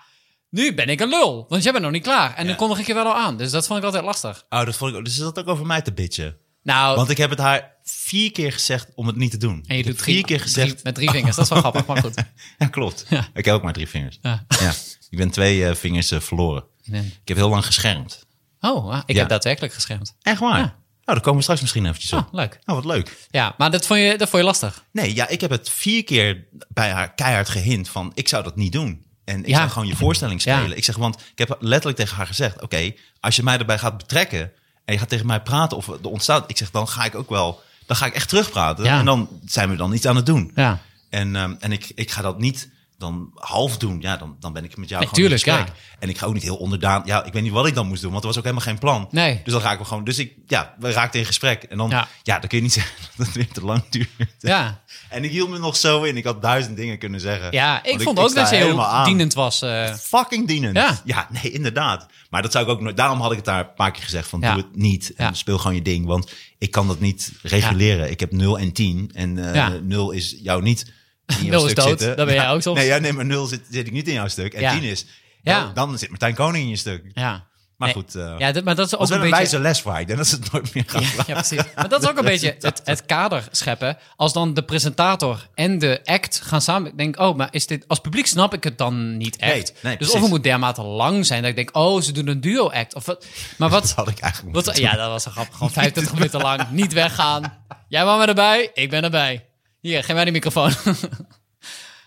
[SPEAKER 2] nu ben ik een lul. Want jij bent nog niet klaar. En
[SPEAKER 1] Ja.
[SPEAKER 2] dan kondig ik je wel al aan. Dus dat vond ik altijd lastig.
[SPEAKER 1] Oh, dat vond ik ook. Dus ze zat ook over mij te bitchen.
[SPEAKER 2] Nou,
[SPEAKER 1] Want ik heb het haar vier keer gezegd om het niet te doen.
[SPEAKER 2] en
[SPEAKER 1] Ik
[SPEAKER 2] je
[SPEAKER 1] heb
[SPEAKER 2] doet drie,
[SPEAKER 1] vier keer gezegd.
[SPEAKER 2] drie- met drie vingers. Dat is wel grappig, maar goed.
[SPEAKER 1] Ja, klopt.
[SPEAKER 2] Ja.
[SPEAKER 1] Ik heb ook maar drie vingers.
[SPEAKER 2] Ja.
[SPEAKER 1] Ja. Ik ben twee eh, vingers eh, verloren.
[SPEAKER 2] Nee.
[SPEAKER 1] Ik heb heel lang geschermd.
[SPEAKER 2] Oh, ah, ik
[SPEAKER 1] Ja.
[SPEAKER 2] heb daadwerkelijk geschermd.
[SPEAKER 1] Echt waar? Nou, daar komen we straks misschien eventjes op.
[SPEAKER 2] Oh, leuk.
[SPEAKER 1] Nou, wat leuk.
[SPEAKER 2] Ja, maar dat vond je, dat vond je lastig.
[SPEAKER 1] Nee, ja, ik heb het vier keer bij haar keihard gehind van ik zou dat niet doen. En ik
[SPEAKER 2] Ja.
[SPEAKER 1] zou gewoon je voorstelling spelen.
[SPEAKER 2] Ja.
[SPEAKER 1] Ik zeg, want ik heb letterlijk tegen haar gezegd: oké, als je mij erbij gaat betrekken en je gaat tegen mij praten of er ontstaat, ik zeg, dan ga ik ook wel, dan ga ik echt terugpraten.
[SPEAKER 2] Ja.
[SPEAKER 1] En dan zijn we dan iets aan het doen.
[SPEAKER 2] Ja.
[SPEAKER 1] En, ehm, en ik, ik ga dat niet dan half doen. Ja, dan, dan ben ik met jou
[SPEAKER 2] Nee,
[SPEAKER 1] gewoon in
[SPEAKER 2] tuurlijk,
[SPEAKER 1] gesprek. En ik ga ook niet heel onderdaan. Ja, ik weet niet wat ik dan moest doen, want er was ook helemaal geen plan.
[SPEAKER 2] Nee.
[SPEAKER 1] Dus dan raken we gewoon. Dus ik, ja, we raakten in gesprek. En dan,
[SPEAKER 2] Ja.
[SPEAKER 1] ja, dan kun je niet zeggen dat het weer te lang duurt.
[SPEAKER 2] Ja,
[SPEAKER 1] En ik hield me nog zo in. Ik had duizend dingen kunnen zeggen.
[SPEAKER 2] ja ik
[SPEAKER 1] Want
[SPEAKER 2] vond ook
[SPEAKER 1] sta
[SPEAKER 2] dat je heel
[SPEAKER 1] helemaal aan.
[SPEAKER 2] dienend was. eh.
[SPEAKER 1] Fucking dienend.
[SPEAKER 2] Ja.
[SPEAKER 1] nee, inderdaad. Maar dat zou ik ook nooit... Daarom had ik het daar een paar keer gezegd van...
[SPEAKER 2] Ja.
[SPEAKER 1] Doe het niet en
[SPEAKER 2] Ja.
[SPEAKER 1] speel gewoon je ding. Want ik kan dat niet reguleren. Ik heb 0 en 10. En eh
[SPEAKER 2] Ja.
[SPEAKER 1] 0 is jou niet... in jouw
[SPEAKER 2] Nul is
[SPEAKER 1] stuk
[SPEAKER 2] dood.
[SPEAKER 1] zitten.
[SPEAKER 2] Dat ben jij
[SPEAKER 1] Ja.
[SPEAKER 2] ook soms.
[SPEAKER 1] Nee, ja, nee maar 0 zit, zit ik niet in jouw stuk. En
[SPEAKER 2] Ja.
[SPEAKER 1] 10 is...
[SPEAKER 2] Ja.
[SPEAKER 1] Dan, dan zit Martijn Koning in je stuk.
[SPEAKER 2] ja.
[SPEAKER 1] Maar
[SPEAKER 2] Nee.
[SPEAKER 1] goed, eh
[SPEAKER 2] ja, dat, maar dat is ook
[SPEAKER 1] was wel
[SPEAKER 2] een
[SPEAKER 1] een,
[SPEAKER 2] beetje...
[SPEAKER 1] wijze les voor haar. Ik denk dat ze het nooit meer gaat
[SPEAKER 2] Ja, precies. Maar dat is ook een beetje het, het kader scheppen. Als dan de presentator en de act gaan samen. Ik denk, oh, maar is dit, als publiek snap ik het dan niet echt.
[SPEAKER 1] Nee, nee,
[SPEAKER 2] dus of
[SPEAKER 1] precies.
[SPEAKER 2] het moet dermate lang zijn dat ik denk, oh, ze doen een duo-act. Of wat, maar wat,
[SPEAKER 1] had ik eigenlijk
[SPEAKER 2] wat,
[SPEAKER 1] moeten
[SPEAKER 2] Ja, dat was een grap. Gewoon 25 minuten lang niet weggaan. Jij wou maar erbij, ik ben erbij. Hier, geef mij die microfoon.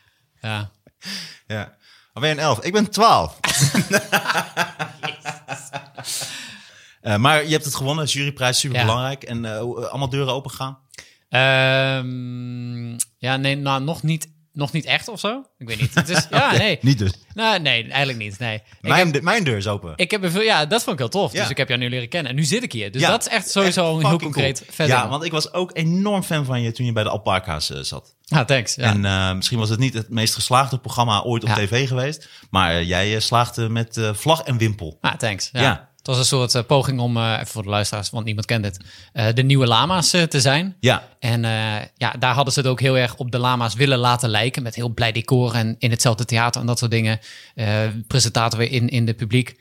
[SPEAKER 2] ja.
[SPEAKER 1] Ja. Alweer een elf. Ik ben twaalf. Eh, maar je hebt het gewonnen. Juryprijs, super belangrijk. En eh, hoe- eh, allemaal deuren open gaan.
[SPEAKER 2] Ehm, ja, nee, nou, nog niet, nog niet echt of zo. Ik weet niet. Het is, ja, Ah, nee.
[SPEAKER 1] Niet dus.
[SPEAKER 2] Nou, nee, eigenlijk niet. Nee. Ik heb-
[SPEAKER 1] Mijn, de- mijn deur is open.
[SPEAKER 2] Ik heb er veel, ja, dat vond ik heel tof.
[SPEAKER 1] Ja.
[SPEAKER 2] Dus ik heb jou nu leren kennen. En nu zit ik hier. Dus
[SPEAKER 1] Ja,
[SPEAKER 2] dat is echt sowieso een heel
[SPEAKER 1] fucking
[SPEAKER 2] concreet
[SPEAKER 1] cool.
[SPEAKER 2] verder.
[SPEAKER 1] Ja, want ik was ook enorm fan van je toen je bij de Alpaca's eh, zat.
[SPEAKER 2] Ah, thanks. Ja.
[SPEAKER 1] En eh, misschien was het niet het meest geslaagde programma ooit op
[SPEAKER 2] Ja.
[SPEAKER 1] tv geweest. Maar eh, jij eh, slaagde met eh, vlag en wimpel.
[SPEAKER 2] ah, thanks. Ja.
[SPEAKER 1] Ja.
[SPEAKER 2] Het was een soort eh, poging om, eh, even voor de luisteraars, want niemand kent dit, eh, de nieuwe lama's eh, te zijn.
[SPEAKER 1] Ja,
[SPEAKER 2] En eh, ja, daar hadden ze het ook heel erg op de lama's willen laten lijken. Met heel blij decor en in hetzelfde theater en dat soort dingen. Eh, presentator weer in, in de publiek.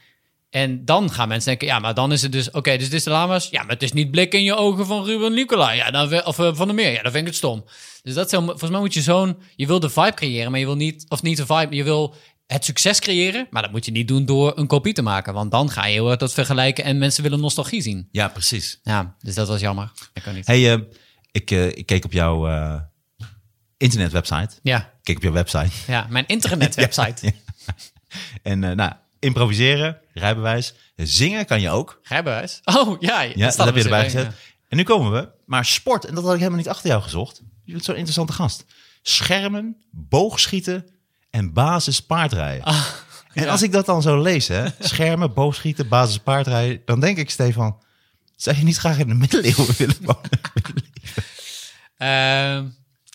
[SPEAKER 2] En dan gaan mensen denken, ja, maar dan is het dus... Oké, dus dit is de lama's. Ja, maar het is niet blik in je ogen van Ruben Nicola. Ja, dan, we- of eh, Van der Meer. Ja, dan vind ik het stom. Dus dat is heel, volgens mij moet je zo'n... Je wil de vibe creëren, maar je wil niet... Of niet de vibe, je wil het succes creëren. Maar dat moet je niet doen door een kopie te maken. Want dan ga je heel erg dat vergelijken en mensen willen nostalgie zien.
[SPEAKER 1] ja precies.
[SPEAKER 2] Ja, dus dat was jammer. Ik kan niet.
[SPEAKER 1] Hey, eh, ik, eh, ik keek op jouw eh, internetwebsite.
[SPEAKER 2] Ja,
[SPEAKER 1] Ik keek op jouw website.
[SPEAKER 2] Ja, mijn internetwebsite.
[SPEAKER 1] En eh, nou, improviseren, rijbewijs, zingen kan je ook.
[SPEAKER 2] Rijbewijs. Oh, ja.
[SPEAKER 1] Ja, dat, heb je erbij gezet.
[SPEAKER 2] gezet.
[SPEAKER 1] En nu komen we. Maar sport, en dat had ik helemaal niet achter jou gezocht. Je bent zo'n interessante gast. Schermen, boogschieten en basis paardrijden.
[SPEAKER 2] Ah,
[SPEAKER 1] en als ik dat dan zo lees, hè, schermen, boogschieten, basis paardrijden, dan denk ik, Stefan, zou je niet graag in de middeleeuwen willen wonen?
[SPEAKER 2] Ehm,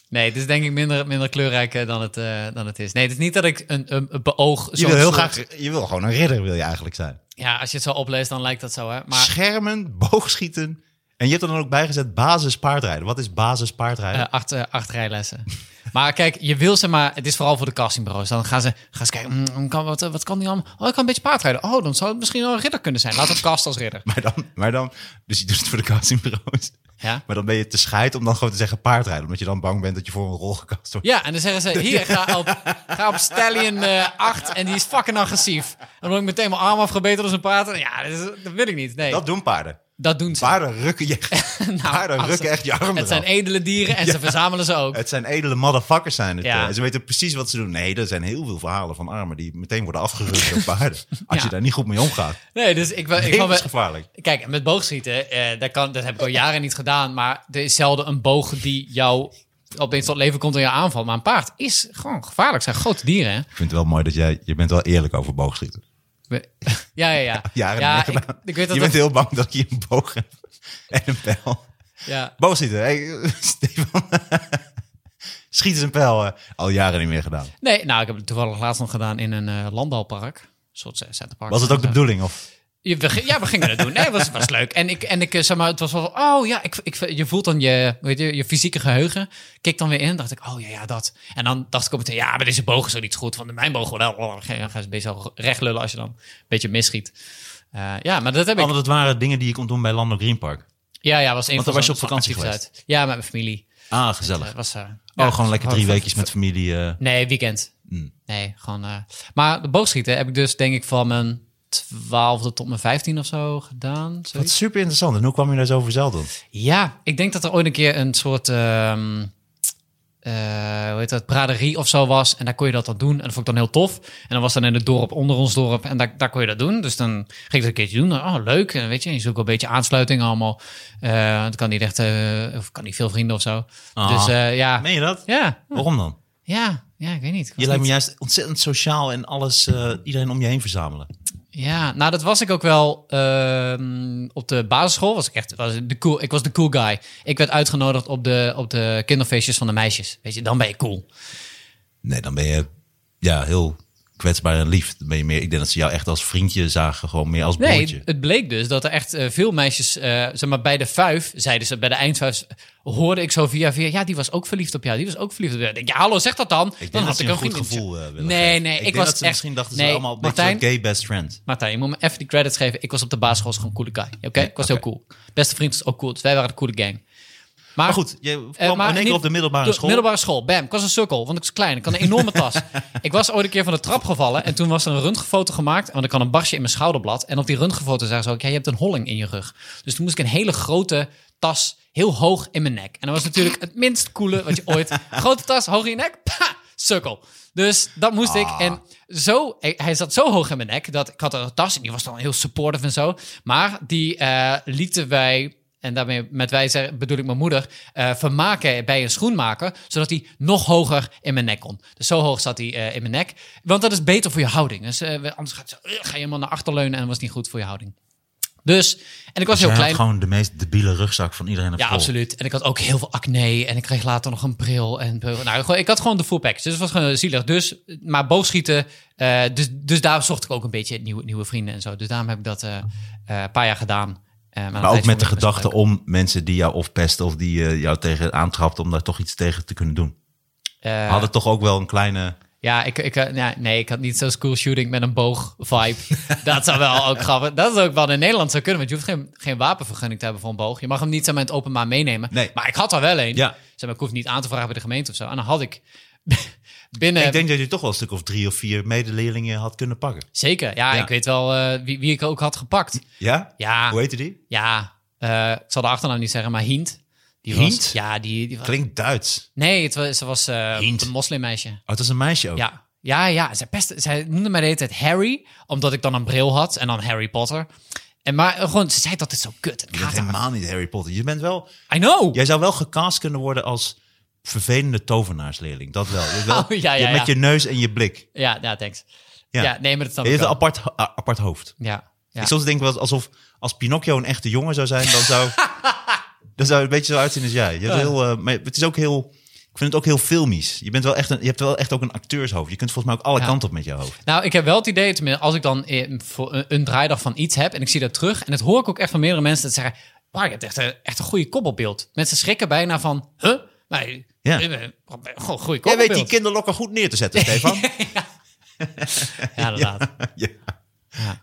[SPEAKER 2] nee, het is denk ik minder, minder kleurrijk eh, dan het, eh, dan het is. Nee, het is niet dat ik een, een, een beoog...
[SPEAKER 1] Je
[SPEAKER 2] zo'n
[SPEAKER 1] wil heel
[SPEAKER 2] soort-
[SPEAKER 1] graag, je wil gewoon een ridder, wil je eigenlijk zijn.
[SPEAKER 2] Ja, als je het zo opleest, dan lijkt dat zo, hè. Maar
[SPEAKER 1] Schermen, boogschieten. En je hebt er dan ook bijgezet basis paardrijden. Wat is basis paardrijden?
[SPEAKER 2] eh, acht, eh, acht rijlessen. maar kijk, je wil ze maar... Het is vooral voor de castingbureaus. Dan gaan ze, gaan ze kijken, mm, kan, wat, eh, wat kan die allemaal? Oh, ik kan een beetje paardrijden. Oh, dan zou het misschien wel een ridder kunnen zijn. Laat het cast als ridder.
[SPEAKER 1] Maar dan, maar dan, dus je doet het voor de castingbureaus.
[SPEAKER 2] Ja.
[SPEAKER 1] Maar dan ben je te scheid om dan gewoon te zeggen paardrijden. Omdat je dan bang bent dat je voor een rol gekast wordt.
[SPEAKER 2] Ja, en dan zeggen ze, hier, ga op, ga op Stallion eh 8 en die is fucking agressief. En dan word ik meteen mijn arm afgebeten door zijn paard. Ja, dat, is- dat wil ik niet, nee.
[SPEAKER 1] Dat doen paarden.
[SPEAKER 2] Dat doen ze.
[SPEAKER 1] Paarden rukken je, paarden
[SPEAKER 2] als-
[SPEAKER 1] rukken echt je arm
[SPEAKER 2] Het zijn
[SPEAKER 1] eraf.
[SPEAKER 2] edele dieren en ze verzamelen ze ook.
[SPEAKER 1] Het zijn edele motherfuckers zijn het.
[SPEAKER 2] Ja.
[SPEAKER 1] eh. En ze weten precies wat ze doen. Nee, er zijn heel veel verhalen van armen die meteen worden afgerukt door paarden. Als je
[SPEAKER 2] Ja.
[SPEAKER 1] daar niet goed mee omgaat.
[SPEAKER 2] Nee, dus ik, ben- ik kwam bij-
[SPEAKER 1] Levensgevaarlijk.
[SPEAKER 2] Kijk, met boogschieten, eh, dat, kan, dat heb ik al jaren niet gedaan. Maar er is zelden een boog die jou opeens tot leven komt en je aanvalt. Maar een paard is gewoon gevaarlijk. Het zijn grote dieren, hè?
[SPEAKER 1] Ik vind het wel mooi dat jij... Je bent wel eerlijk over boogschieten.
[SPEAKER 2] We- Ja, ja, ja.
[SPEAKER 1] Jaren
[SPEAKER 2] ja, ik,
[SPEAKER 1] meegedaan.
[SPEAKER 2] ik weet dat
[SPEAKER 1] je
[SPEAKER 2] dat-
[SPEAKER 1] bent heel bang dat je een boog hebt. En een pijl.
[SPEAKER 2] ja.
[SPEAKER 1] Boogschieten. Hey, Stefan. Schiet eens een pijl. eh, Al jaren niet meer gedaan.
[SPEAKER 2] Nee, nou, ik heb het toevallig laatst nog gedaan in een eh, landbouwpark. Een soort eh, centerpark.
[SPEAKER 1] Was het ook de bedoeling? Of?
[SPEAKER 2] Je- we ging- ja, we gingen het doen. Nee, het was, was leuk. En ik, en ik eh, zeg maar, het was wel, van, oh ja, ik, ik, je voelt dan je, weet je, je fysieke geheugen. Keek dan weer in, dacht ik, oh ja, ja, dat. En dan dacht ik op het ja, maar deze boog is ook niet goed. Van mijn boog wel. Oh, ga ga eens een beetje zo recht lullen als je dan een beetje misschiet. Eh, ja, maar dat heb ik.
[SPEAKER 1] Want het waren dingen die je kon doen bij Lando Green Park.
[SPEAKER 2] Ja, ja, was een
[SPEAKER 1] Want dan
[SPEAKER 2] van
[SPEAKER 1] was je
[SPEAKER 2] zo'n-
[SPEAKER 1] op vakantie
[SPEAKER 2] zo'n activiteit. Ja, met mijn familie.
[SPEAKER 1] Ah,
[SPEAKER 2] Eh,
[SPEAKER 1] gezellig.
[SPEAKER 2] was, eh,
[SPEAKER 1] Oh,
[SPEAKER 2] ja,
[SPEAKER 1] gewoon lekker drie
[SPEAKER 2] ver-
[SPEAKER 1] weekjes met familie. eh.
[SPEAKER 2] Nee, weekend.
[SPEAKER 1] Hmm.
[SPEAKER 2] Nee, gewoon. eh, maar de boogschieten heb ik dus denk ik van mijn twaalfde tot mijn vijftien of zo gedaan. zoiets.
[SPEAKER 1] Wat super interessant. En hoe kwam je daar zo voor zelf dan?
[SPEAKER 2] Ja, ik denk dat er ooit een keer een soort. ehm, eh, hoe heet dat? Braderie of zo was. En daar kon je dat dan doen. En dat vond ik dan heel tof. En dan was dan in het dorp onder ons dorp. En daar, daar kon je dat doen. Dus dan ging ik dat een keertje doen. Dan, oh, leuk. En weet je, je zoekt wel een beetje aansluiting allemaal. Eh dan kan niet echt. eh, of kan niet veel vrienden of zo.
[SPEAKER 1] Ah.
[SPEAKER 2] Dus eh, ja.
[SPEAKER 1] Meen je dat?
[SPEAKER 2] Ja,
[SPEAKER 1] Waarom dan?
[SPEAKER 2] ja, ja, ik weet niet. Ik was
[SPEAKER 1] Je lijkt me
[SPEAKER 2] niet-
[SPEAKER 1] juist ontzettend sociaal en alles, eh, iedereen om je heen verzamelen.
[SPEAKER 2] Ja, nou dat was ik ook wel ehm, op de basisschool. Was ik echt was de cool. Ik was de cool guy. Ik werd uitgenodigd op de, op de kinderfeestjes van de meisjes. Weet je, dan ben je cool.
[SPEAKER 1] Nee, dan ben je ja, heel kwetsbaar en lief. Dan ben je meer, ik denk dat ze jou echt als vriendje zagen, gewoon meer als
[SPEAKER 2] Nee,
[SPEAKER 1] broertje.
[SPEAKER 2] het bleek dus dat er echt eh, veel meisjes, eh, zeg maar bij de vijf, zeiden ze bij de eindvijf, hoorde ik zo via via, ja die was ook verliefd op jou, die was ook verliefd op jou. Ik denk, ja hallo, zeg dat dan.
[SPEAKER 1] ik
[SPEAKER 2] dan
[SPEAKER 1] denk dat ze
[SPEAKER 2] ik
[SPEAKER 1] je een goed
[SPEAKER 2] vriendinnetje.
[SPEAKER 1] gevoel eh, willen
[SPEAKER 2] Nee,
[SPEAKER 1] geven.
[SPEAKER 2] nee,
[SPEAKER 1] ik,
[SPEAKER 2] ik,
[SPEAKER 1] denk
[SPEAKER 2] was
[SPEAKER 1] dat ze
[SPEAKER 2] echt.
[SPEAKER 1] misschien dachten
[SPEAKER 2] nee,
[SPEAKER 1] ze allemaal een beetje
[SPEAKER 2] Martijn,
[SPEAKER 1] zo'n gay best friend.
[SPEAKER 2] Martijn, je moet me even die credits geven. Ik was op de basisschool gewoon een coole guy. Oké, ik was heel cool. Beste vriend was ook cool. Dus wij waren de coole gang.
[SPEAKER 1] Maar goed, je
[SPEAKER 2] Eh,
[SPEAKER 1] kwam in één keer
[SPEAKER 2] niet-
[SPEAKER 1] op de middelbare
[SPEAKER 2] de-
[SPEAKER 1] school.
[SPEAKER 2] Middelbare school, bam. Ik was een sukkel, want ik was klein. Ik had een enorme tas. ik was ooit een keer van de trap gevallen en toen was er een röntgenfoto gemaakt. Want ik had een barstje in mijn schouderblad. En op die röntgenfoto zagen ze ook, ja, je hebt een holling in je rug. Dus toen moest ik een hele grote tas heel hoog in mijn nek. En dat was natuurlijk het minst coole wat je ooit... grote tas, hoog in je nek, pa, sukkel. Dus dat moest
[SPEAKER 1] Ah.
[SPEAKER 2] ik. En zo, hij hij zat zo hoog in mijn nek dat ik had een tas en die was dan heel supportive en zo. Maar die eh, lieten wij en daarmee met wij zeggen- bedoel ik mijn moeder, eh, vermaken bij een schoenmaker, zodat hij nog hoger in mijn nek kon. Dus zo hoog zat hij eh, in mijn nek. Want dat is beter voor je houding. Dus, eh, anders gaat het zo, eh, ga je helemaal naar achter leunen en dat was niet goed voor je houding. Dus, en ik was
[SPEAKER 1] Jij
[SPEAKER 2] heel
[SPEAKER 1] had
[SPEAKER 2] klein.
[SPEAKER 1] gewoon de meest debiele rugzak van iedereen op
[SPEAKER 2] Ja,
[SPEAKER 1] school.
[SPEAKER 2] absoluut. En ik had ook heel veel acne. En ik kreeg later nog een bril. En, nou, gewoon- ik had gewoon de full package. Dus het was gewoon zielig. Dus, maar boogschieten. eh, dus, dus daar zocht ik ook een beetje nieuwe, nieuwe vrienden en zo. Dus daarom heb ik dat eh, eh, een paar jaar gedaan. Eh,
[SPEAKER 1] Maar ook met de
[SPEAKER 2] gedachten
[SPEAKER 1] gedachte om mensen die jou of pesten of die eh, jou tegen aantrapt, om daar toch iets tegen te kunnen doen.
[SPEAKER 2] Eh,
[SPEAKER 1] We hadden toch ook wel een kleine...
[SPEAKER 2] Ja, ik, ik, eh, ja, nee, ik had niet zo'n school shooting met een boog vibe. dat zou wel ook grappig. Dat is ook wat in Nederland zou kunnen, want je hoeft geen, geen wapenvergunning te hebben voor een boog. Je mag hem niet zomaar in het openbaar meenemen.
[SPEAKER 1] Nee.
[SPEAKER 2] Maar ik had er wel een.
[SPEAKER 1] Ja.
[SPEAKER 2] Zeg maar, ik hoef niet aan te vragen bij de gemeente of zo. En dan had ik binnen.
[SPEAKER 1] ik denk dat je toch wel een stuk of drie of vier medeleerlingen had kunnen pakken.
[SPEAKER 2] Zeker. Ja,
[SPEAKER 1] Ja.
[SPEAKER 2] ik weet wel eh, wie, wie ik ook had gepakt.
[SPEAKER 1] Ja?
[SPEAKER 2] Ja.
[SPEAKER 1] Hoe heette die?
[SPEAKER 2] Ja, eh, ik zal de achternaam niet zeggen, maar Hint. Die
[SPEAKER 1] Hint?
[SPEAKER 2] Was, ja, die, die was-
[SPEAKER 1] Klinkt Duits.
[SPEAKER 2] Nee, het was, ze was eh,
[SPEAKER 1] Hint.
[SPEAKER 2] een moslimmeisje.
[SPEAKER 1] Oh, het was een meisje ook.
[SPEAKER 2] Ja, ja, ja. Zij, pesten, zij noemde mij de hele tijd Harry, omdat ik dan een bril had en dan Harry Potter. En maar eh, gewoon, ze zei dat dit zo kut. en Ik
[SPEAKER 1] Je bent
[SPEAKER 2] haat haar.
[SPEAKER 1] helemaal niet Harry Potter. Je bent wel...
[SPEAKER 2] I know.
[SPEAKER 1] Jij zou wel gecast kunnen worden als vervelende tovenaarsleerling. Dat wel. Je bent wel-
[SPEAKER 2] Oh, ja, ja,
[SPEAKER 1] je- Met
[SPEAKER 2] ja.
[SPEAKER 1] je neus en je blik.
[SPEAKER 2] Ja, ja, thanks.
[SPEAKER 1] Ja.
[SPEAKER 2] Ja, nee, maar dat snap
[SPEAKER 1] Je
[SPEAKER 2] ik
[SPEAKER 1] hebt een
[SPEAKER 2] wel.
[SPEAKER 1] apart, ho- a- apart hoofd.
[SPEAKER 2] Ja, ja.
[SPEAKER 1] Ik soms denk wel alsof als Pinocchio een echte jongen zou zijn, dan zou, dan zou het een beetje zo uitzien als jij. Je hebt heel, eh, maar het is ook heel... Ik vind het ook heel filmisch. Je, bent wel echt een, je hebt wel echt ook een acteurshoofd. Je kunt volgens mij ook alle
[SPEAKER 2] Ja.
[SPEAKER 1] kanten op met je hoofd.
[SPEAKER 2] Nou, ik heb wel het idee, tenminste, als ik dan eh, voor een- een draaidag van iets heb en ik zie dat terug, en dat hoor ik ook echt van meerdere mensen dat zeggen: Wow, je hebt echt een, echt een goede koppelbeeld. Mensen schrikken bijna van: Huh? Maar,
[SPEAKER 1] Ja.
[SPEAKER 2] ja.
[SPEAKER 1] Jij
[SPEAKER 2] Gewoon goede
[SPEAKER 1] weet die
[SPEAKER 2] koppelbeeld.
[SPEAKER 1] kinderlokken goed neer te zetten, Stefan.
[SPEAKER 2] Ja, inderdaad.
[SPEAKER 1] ja.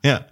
[SPEAKER 1] Ja.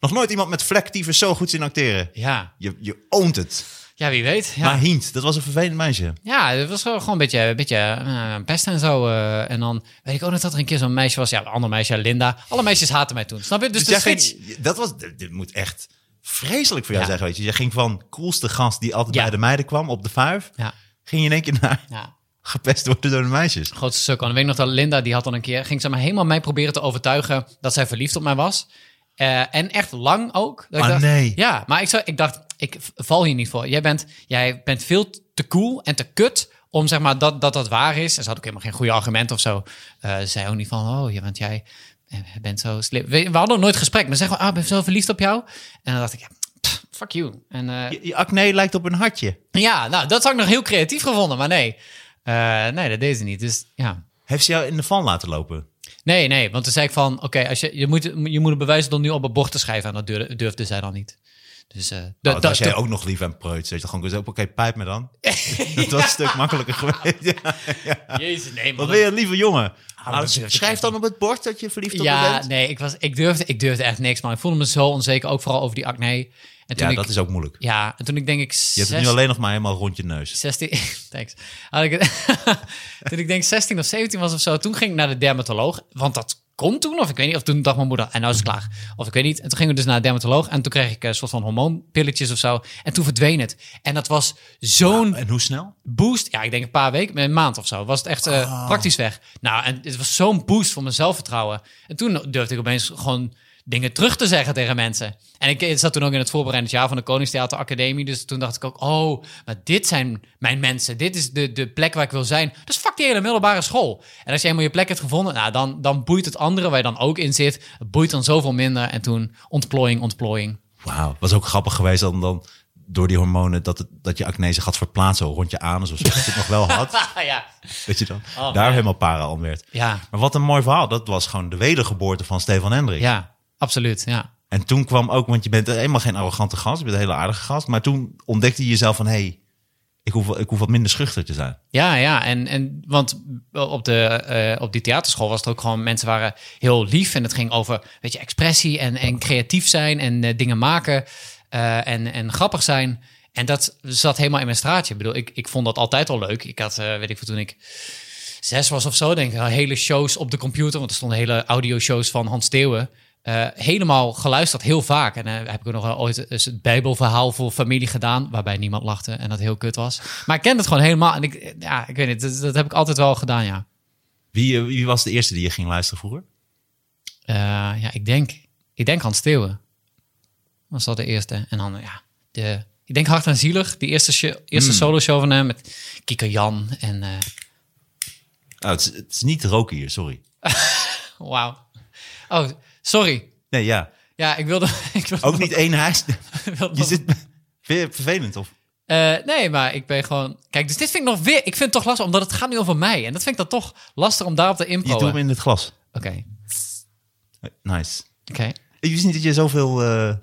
[SPEAKER 1] Nog nooit iemand met vlektyfus zo goed zien acteren.
[SPEAKER 2] Ja.
[SPEAKER 1] Je, je oont het.
[SPEAKER 2] ja, wie weet. Ja.
[SPEAKER 1] Maar Hint, dat was een vervelend meisje.
[SPEAKER 2] Ja, het was wel gewoon een beetje, een beetje eh, pest en zo. eh. en dan weet ik ook nog dat er een keer zo'n meisje was. Ja, een ander meisje, Linda. Alle meisjes haatten mij toen. Snap je? Dus,
[SPEAKER 1] Dus
[SPEAKER 2] de
[SPEAKER 1] jij
[SPEAKER 2] switch.
[SPEAKER 1] ging, dat was, dit dit moet echt vreselijk voor jou
[SPEAKER 2] Ja.
[SPEAKER 1] zeggen, weet je. Je ging van coolste gast die altijd
[SPEAKER 2] Ja.
[SPEAKER 1] bij de meiden kwam op de vuif.
[SPEAKER 2] Ja.
[SPEAKER 1] Ging je in één keer naar
[SPEAKER 2] Ja.
[SPEAKER 1] gepest worden door de meisjes.
[SPEAKER 2] grootste stuk. En ik weet nog dat Linda, die had dan een keer, ging ze maar helemaal mij proberen te overtuigen dat zij verliefd op mij was. Eh, en echt lang ook. Dat ik
[SPEAKER 1] Ah,
[SPEAKER 2] dacht-
[SPEAKER 1] nee.
[SPEAKER 2] Ja, maar ik, zou, ik dacht, ik v- val hier niet voor. Jij bent, jij bent veel te cool en te kut om zeg maar dat dat, dat waar is. En ze had ook helemaal geen goede argumenten of zo. Eh, ze zei ook niet van, oh, ja, want jij eh, bent zo slim. We, we hadden ook nooit gesprek, maar ze zei gewoon, ah, ik ben zo verliefd op jou. En dan dacht ik, ja, pff, fuck you. En, eh,
[SPEAKER 1] Je, je acne lijkt op een hartje.
[SPEAKER 2] ja, nou, dat had ik nog heel creatief gevonden, maar nee. Eh, nee, dat deed ze niet. Dus ja,
[SPEAKER 1] Heeft ze jou in de van laten lopen? Nou,
[SPEAKER 2] Nee, nee, want toen zei ik van, oké, als je, je, moet, je moet het bewijs dan nu op een bord te schrijven. En dat durfde, durfde zij dan niet. Dus eh, dat-
[SPEAKER 1] Nou, Dat
[SPEAKER 2] dat-
[SPEAKER 1] was jij
[SPEAKER 2] dat-
[SPEAKER 1] ook nog lief en preuts. Dat je gewoon kunt zeggen, oké, pijp me dan. Dat was een stuk makkelijker geweest. Ja.
[SPEAKER 2] Jezus, nee, man.
[SPEAKER 1] Wat ben je een lieve jongen?
[SPEAKER 2] Ah,
[SPEAKER 1] Ah,
[SPEAKER 2] dat durf ik
[SPEAKER 1] schrijf dan op het bord dat je verliefd op me
[SPEAKER 2] ja,
[SPEAKER 1] bent.
[SPEAKER 2] nee, ik, was, ik, durfde, ik durfde echt niks, man. Ik voelde me zo onzeker, ook vooral over die acne. En toen
[SPEAKER 1] Ja,
[SPEAKER 2] ik,
[SPEAKER 1] dat is ook moeilijk.
[SPEAKER 2] ja, en toen ik denk ik
[SPEAKER 1] Je hebt het nu alleen nog maar helemaal rond je neus.
[SPEAKER 2] 16, Dus thanks. Had ik het, toen ik denk 16 of 17 was of zo, toen ging ik naar de dermatoloog. Want dat kon toen, of ik weet niet. Of toen dacht mijn moeder, en nou is het klaar. Of ik weet niet. En toen gingen we dus naar de dermatoloog. En toen kreeg ik een soort van hormoonpilletjes of zo. En toen verdween het. En dat was zo'n
[SPEAKER 1] En hoe snel?
[SPEAKER 2] boost. Ja, ik denk een paar weken, een maand of zo. Was het echt eh, praktisch weg. Nou, en het was zo'n boost voor mijn zelfvertrouwen. En toen durfde ik opeens gewoon dingen terug te zeggen tegen mensen. En ik zat toen ook in het voorbereidend jaar van de Koningstheater Academie. Dus toen dacht ik ook, oh, maar dit zijn mijn mensen. Dit is de, de plek waar ik wil zijn. Dus fuck die hele middelbare school. En als je eenmaal je plek hebt gevonden, nou, dan, dan boeit het andere waar je dan ook in zit. Het boeit dan zoveel minder. En toen ontplooiing, ontplooiing.
[SPEAKER 1] Wauw, was ook grappig geweest dan, dan door die hormonen dat, het, dat je acne zich had verplaatsen rond je anus of zo. Dat je het nog wel had,
[SPEAKER 2] ja.
[SPEAKER 1] dat je dan daar
[SPEAKER 2] man.
[SPEAKER 1] helemaal para aan werd.
[SPEAKER 2] Oh, Ja.
[SPEAKER 1] Maar wat een mooi verhaal. Dat was gewoon de wedergeboorte van Stefan Hendrik.
[SPEAKER 2] ja, absoluut. Ja.
[SPEAKER 1] En toen kwam ook, want je bent helemaal geen arrogante gast, je bent een hele aardige gast. Maar toen ontdekte je jezelf van, hé, hey, ik, hoef, ik hoef wat minder schuchter te zijn.
[SPEAKER 2] Ja, ja. En, en, want op, de, eh, op die theaterschool was het ook gewoon... mensen waren heel lief en het ging over weet je, expressie en, en creatief zijn... en eh, dingen maken eh, en, en grappig zijn. En dat zat helemaal in mijn straatje. Ik bedoel, ik, ik vond dat altijd al leuk. Ik had, eh, weet ik veel, toen ik zes was of zo, denk ik, hele shows op de computer. Want er stonden hele audio-shows van Hans Theeuwen. eh, helemaal geluisterd, heel vaak. En eh, heb ik ook nog wel ooit eens het Bijbelverhaal voor familie gedaan. Waarbij niemand lachte en dat heel kut was. Maar ik kende het gewoon helemaal. En ik, eh, ja, ik weet niet, dat, dat heb ik altijd wel gedaan, ja.
[SPEAKER 1] Wie, eh, wie was de eerste die je ging luisteren vroeger?
[SPEAKER 2] Eh, ja, ik denk, ik denk Hans Theeuwen. Was dat de eerste? En dan, ja, de, ik denk Hart en Zielig. Die eerste, sho-
[SPEAKER 1] Hmm.
[SPEAKER 2] eerste solo-show van hem met Kika Jan. En eh,
[SPEAKER 1] Oh, het, is, het is niet roken hier, sorry.
[SPEAKER 2] wauw. Oh, sorry.
[SPEAKER 1] Nee, ja.
[SPEAKER 2] Ja, ik wilde... Ik wilde
[SPEAKER 1] Ook niet één huis.
[SPEAKER 2] wilde
[SPEAKER 1] Je zit... Vind je het vervelend of?
[SPEAKER 2] Eh, nee, maar ik ben gewoon. Kijk, dus dit vind ik nog weer. Ik vind het toch lastig, omdat het gaat nu over mij. En dat vind ik dan toch lastig om daarop te
[SPEAKER 1] Je doet
[SPEAKER 2] improen.
[SPEAKER 1] hem
[SPEAKER 2] Oké.
[SPEAKER 1] in het glas.
[SPEAKER 2] Oké.
[SPEAKER 1] Nice. Ik wist niet dat je zoveel eh,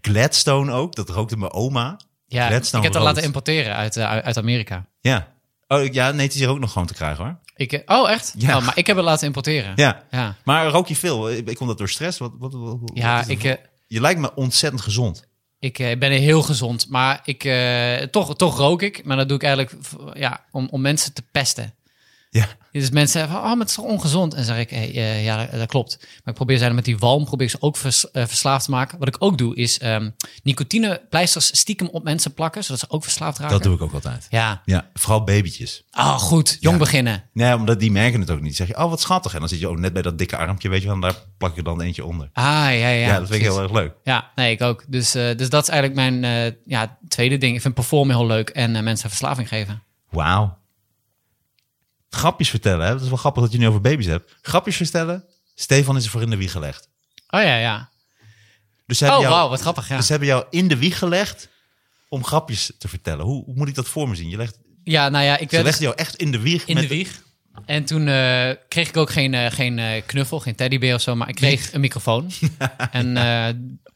[SPEAKER 1] Gladstone ook. Dat rookte mijn oma.
[SPEAKER 2] Ja, ik
[SPEAKER 1] Gladstone
[SPEAKER 2] heb dat
[SPEAKER 1] rood.
[SPEAKER 2] laten importeren uit, eh, uit Amerika.
[SPEAKER 1] Ja. Oh, ik- ja, nee, het is hier ook nog gewoon te krijgen hoor.
[SPEAKER 2] Ik, eh, oh, echt?
[SPEAKER 1] Ja.
[SPEAKER 2] Oh, maar ik heb het laten importeren.
[SPEAKER 1] Ja.
[SPEAKER 2] Ja,
[SPEAKER 1] Maar rook je veel? Ik ik kom dat door stress. Wat, wat, wat- wat
[SPEAKER 2] Ja,
[SPEAKER 1] is dat?
[SPEAKER 2] ik, eh,
[SPEAKER 1] Je lijkt me ontzettend gezond.
[SPEAKER 2] ik eh, ben heel gezond. Maar ik, eh, toch, toch rook ik. Maar dat doe ik eigenlijk v- ja, om, om mensen te pesten.
[SPEAKER 1] Ja.
[SPEAKER 2] Dus mensen zeggen van, oh, maar het is toch ongezond? En dan zeg ik, hey, eh, ja, dat, dat klopt. Maar ik probeer ze dan met die walm probeer ik ze ook vers- eh, verslaafd te maken. Wat ik ook doe, is ehm nicotinepleisters stiekem op mensen plakken, zodat ze ook verslaafd raken.
[SPEAKER 1] Dat doe ik ook altijd.
[SPEAKER 2] Ja.
[SPEAKER 1] Ja, vooral babytjes.
[SPEAKER 2] Oh, goed. Jong
[SPEAKER 1] Ja.
[SPEAKER 2] beginnen.
[SPEAKER 1] Nee, omdat die merken het ook niet. Zeg je, oh wat schattig. En dan zit je ook net bij dat dikke armpje, weet je wel. En daar plak je dan eentje onder.
[SPEAKER 2] Ah, ja, ja.
[SPEAKER 1] Ja, dat vind ik heel erg leuk.
[SPEAKER 2] Ja, nee, ik ook. Dus, eh, dus dat is eigenlijk mijn eh, ja, tweede ding. Ik vind performen heel leuk en eh, mensen verslaving geven.
[SPEAKER 1] Wauw. Grapjes vertellen, hè? Dat is wel grappig dat je nu over baby's hebt. Grapjes vertellen. Stefan is er voor in de wieg gelegd.
[SPEAKER 2] Oh ja, ja.
[SPEAKER 1] Dus ze
[SPEAKER 2] Oh,
[SPEAKER 1] hebben jou,
[SPEAKER 2] wauw, wat grappig, ja.
[SPEAKER 1] dus ze hebben jou in de wieg gelegd om grapjes te vertellen. Hoe, hoe moet ik dat voor me zien? Je legt,
[SPEAKER 2] Ja, nou ja,
[SPEAKER 1] ze
[SPEAKER 2] ik werd...
[SPEAKER 1] legden jou echt in de wieg.
[SPEAKER 2] In de wieg. En toen eh, kreeg ik ook geen, eh, geen eh, knuffel, geen teddybeer of zo, maar ik kreeg een microfoon. en, eh,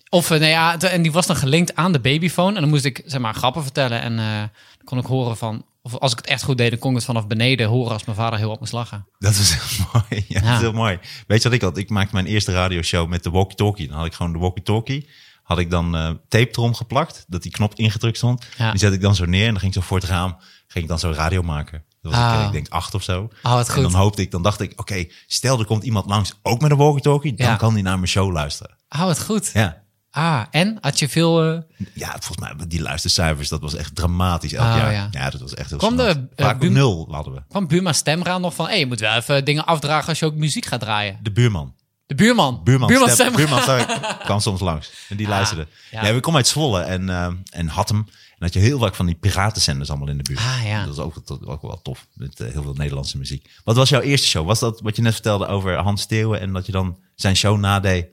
[SPEAKER 2] of, eh, nee, ja, de- en die was dan gelinkt aan de babyfoon. En dan moest ik zeg maar grappen vertellen. En eh, dan kon ik horen van, of als ik het echt goed deed, dan kon ik het vanaf beneden horen als mijn vader heel op moest lachen.
[SPEAKER 1] Dat is heel mooi. Ja, Dat
[SPEAKER 2] Ja.
[SPEAKER 1] is heel mooi. Weet je wat ik had? Ik maakte mijn eerste radioshow met de walkie-talkie. Dan had ik gewoon de walkie-talkie. Had ik dan eh, tape erom geplakt, dat die knop ingedrukt stond.
[SPEAKER 2] Ja.
[SPEAKER 1] Die zet ik dan zo neer en dan ging ik zo voor het raam. Ging ik dan zo radio maken. Dat was ik,
[SPEAKER 2] Ah.
[SPEAKER 1] eh, ik denk acht of zo.
[SPEAKER 2] Oh, wat
[SPEAKER 1] En
[SPEAKER 2] goed.
[SPEAKER 1] dan hoopte ik, dan dacht ik, oké, stel er komt iemand langs, ook met een walkie-talkie, dan
[SPEAKER 2] Ja.
[SPEAKER 1] kan die naar mijn show luisteren.
[SPEAKER 2] Hou het Ah, goed.
[SPEAKER 1] Ja.
[SPEAKER 2] Ah, en? Had je veel... eh,
[SPEAKER 1] Ja, volgens mij, die luistercijfers, dat was echt dramatisch elk
[SPEAKER 2] Ah,
[SPEAKER 1] jaar.
[SPEAKER 2] ja.
[SPEAKER 1] Ja. dat was echt heel
[SPEAKER 2] Kwam
[SPEAKER 1] gênant.
[SPEAKER 2] de, eh,
[SPEAKER 1] Vaak op
[SPEAKER 2] Bum-
[SPEAKER 1] nul hadden we.
[SPEAKER 2] kwam Buma Stemra nog van... Hé, je moet wel even dingen afdragen als je ook muziek gaat draaien.
[SPEAKER 1] De buurman.
[SPEAKER 2] De buurman.
[SPEAKER 1] Buurman, Stem-
[SPEAKER 2] Stemra.
[SPEAKER 1] buurman Stem- kwam soms langs. En die luisterde.
[SPEAKER 2] ja.
[SPEAKER 1] Ja. we komen uit Zwolle en, ehm en Hattem. En had je heel vaak van die piratenzenders allemaal in de buurt.
[SPEAKER 2] Ah, ja.
[SPEAKER 1] Dat is ook, dat, ook wel tof. Met eh, heel veel Nederlandse muziek. Wat was jouw eerste show? Was dat wat je net vertelde over Hans Steeuwen en dat je dan zijn show nadeed?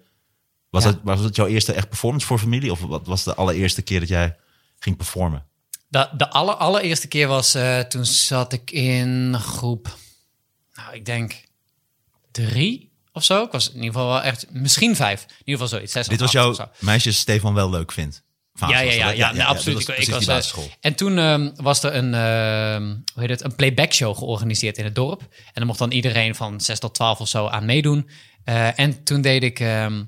[SPEAKER 1] Was,
[SPEAKER 2] Ja.
[SPEAKER 1] dat, was dat jouw eerste echt performance voor familie? Of wat was de allereerste keer dat jij ging performen?
[SPEAKER 2] De, de aller, allereerste keer was eh, toen zat ik in groep, nou ik denk drie of zo. Ik was in ieder geval wel echt, misschien vijf. In ieder geval zoiets. Zes
[SPEAKER 1] Dit was jouw meisjes Stefan wel leuk vindt. Fase
[SPEAKER 2] Ja, ja,
[SPEAKER 1] was
[SPEAKER 2] ja,
[SPEAKER 1] dat,
[SPEAKER 2] ja,
[SPEAKER 1] hè?
[SPEAKER 2] nee, absoluut.
[SPEAKER 1] dat
[SPEAKER 2] Ik-
[SPEAKER 1] was
[SPEAKER 2] ik
[SPEAKER 1] precies
[SPEAKER 2] was,
[SPEAKER 1] die
[SPEAKER 2] eh,
[SPEAKER 1] basisschool.
[SPEAKER 2] En toen ehm, was er een, ehm hoe heet het, een playback show georganiseerd in het dorp. En dan mocht dan iedereen van 6 tot 12 of zo aan meedoen. Eh, en toen deed ik ehm,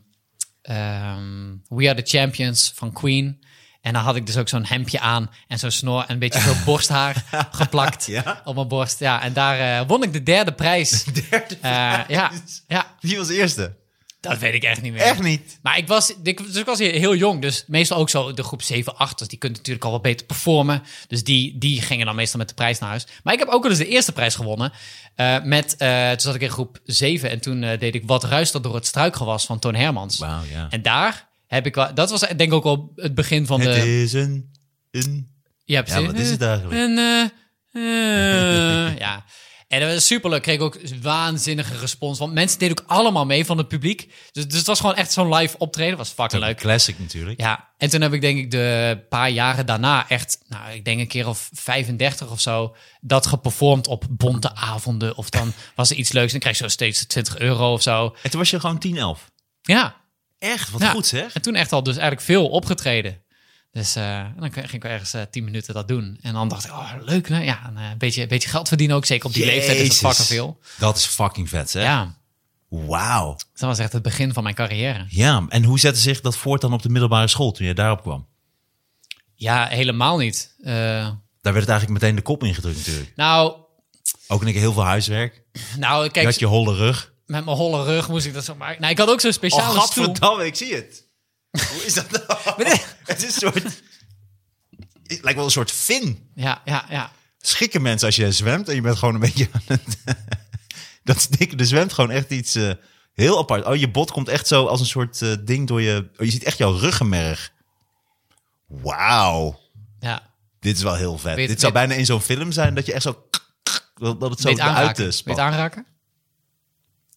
[SPEAKER 2] ehm, We Are The Champions van Queen. En dan had ik dus ook zo'n hemdje aan en zo'n snor en een beetje zo'n borsthaar geplakt
[SPEAKER 1] Ja?
[SPEAKER 2] op mijn borst. Ja, en daar eh, won ik de derde prijs. Eh, ja, ja,
[SPEAKER 1] Wie was de eerste?
[SPEAKER 2] dat weet ik echt niet meer.
[SPEAKER 1] Echt niet.
[SPEAKER 2] Maar ik was, ik, dus ik was heel jong, dus meestal ook zo de groep 7, 8. Dus die kunt natuurlijk al wat beter performen. Dus die, die gingen dan meestal met de prijs naar huis. Maar ik heb ook al eens de eerste prijs gewonnen. eh, met, eh, toen zat ik in groep 7 en toen eh, deed ik Wat ruist er door het struikgewas van Toon Hermans.
[SPEAKER 1] Wauw, ja.
[SPEAKER 2] En daar heb ik wel, dat was denk ik ook al het begin van
[SPEAKER 1] Het
[SPEAKER 2] de...
[SPEAKER 1] is een... een
[SPEAKER 2] Ja,
[SPEAKER 1] ja,
[SPEAKER 2] precies.
[SPEAKER 1] wat is het eigenlijk?
[SPEAKER 2] En, eh, eh, ja. En dat was superleuk. Kreeg ook waanzinnige respons. Want mensen deden ook allemaal mee van het publiek. Dus, dus het was gewoon echt zo'n live optreden. was fucking leuk.
[SPEAKER 1] Classic natuurlijk.
[SPEAKER 2] Ja, en toen heb ik denk ik de paar jaren daarna echt, nou ik denk een keer of 35 of zo, dat geperformd op bonte avonden. Of dan was er iets leuks en dan krijg je zo steeds 20 euro of zo.
[SPEAKER 1] En toen was je gewoon 10, 11.
[SPEAKER 2] Ja,
[SPEAKER 1] Echt, wat
[SPEAKER 2] Ja.
[SPEAKER 1] goed zeg.
[SPEAKER 2] en toen echt al dus eigenlijk veel opgetreden. Dus eh, en dan ging ik wel ergens eh, 10 minuten dat doen. En dan dacht ik, oh leuk hè. Ja, een eh, beetje, beetje geld verdienen ook. Zeker op die leeftijd is
[SPEAKER 1] Jezus.
[SPEAKER 2] dat fucking veel.
[SPEAKER 1] Dat is fucking vet, hè?
[SPEAKER 2] Ja,
[SPEAKER 1] Wauw.
[SPEAKER 2] dus dat was echt het begin van mijn carrière.
[SPEAKER 1] Ja, en hoe zette zich dat voort dan op de middelbare school toen je daarop kwam?
[SPEAKER 2] Ja, helemaal niet. Eh,
[SPEAKER 1] Daar werd het eigenlijk meteen de kop ingedrukt natuurlijk.
[SPEAKER 2] nou,
[SPEAKER 1] Ook een keer heel veel huiswerk.
[SPEAKER 2] nou,
[SPEAKER 1] Je
[SPEAKER 2] kijk,
[SPEAKER 1] had je holle rug.
[SPEAKER 2] met mijn holle rug moest ik dat zo maken. Nou, ik had ook
[SPEAKER 1] Oh,
[SPEAKER 2] zo'n speciale stoel.
[SPEAKER 1] ik zie het. Hoe is dat nou? het is een soort... Het lijkt wel een soort fin.
[SPEAKER 2] Ja, ja, ja.
[SPEAKER 1] schrikken mensen als je zwemt en je bent gewoon een beetje aan het... dat is dik. Er zwemt gewoon echt iets eh, heel apart. Oh, je bot komt echt zo als een soort eh, ding door je... Oh, je ziet echt jouw ruggenmerg. Wauw.
[SPEAKER 2] ja.
[SPEAKER 1] Dit is wel heel vet.
[SPEAKER 2] Weet-
[SPEAKER 1] Dit zou
[SPEAKER 2] weet-
[SPEAKER 1] bijna in zo'n film zijn dat je echt zo... Dat dat het zo
[SPEAKER 2] Weet
[SPEAKER 1] uit
[SPEAKER 2] aanraken.
[SPEAKER 1] de
[SPEAKER 2] Weet aanraken?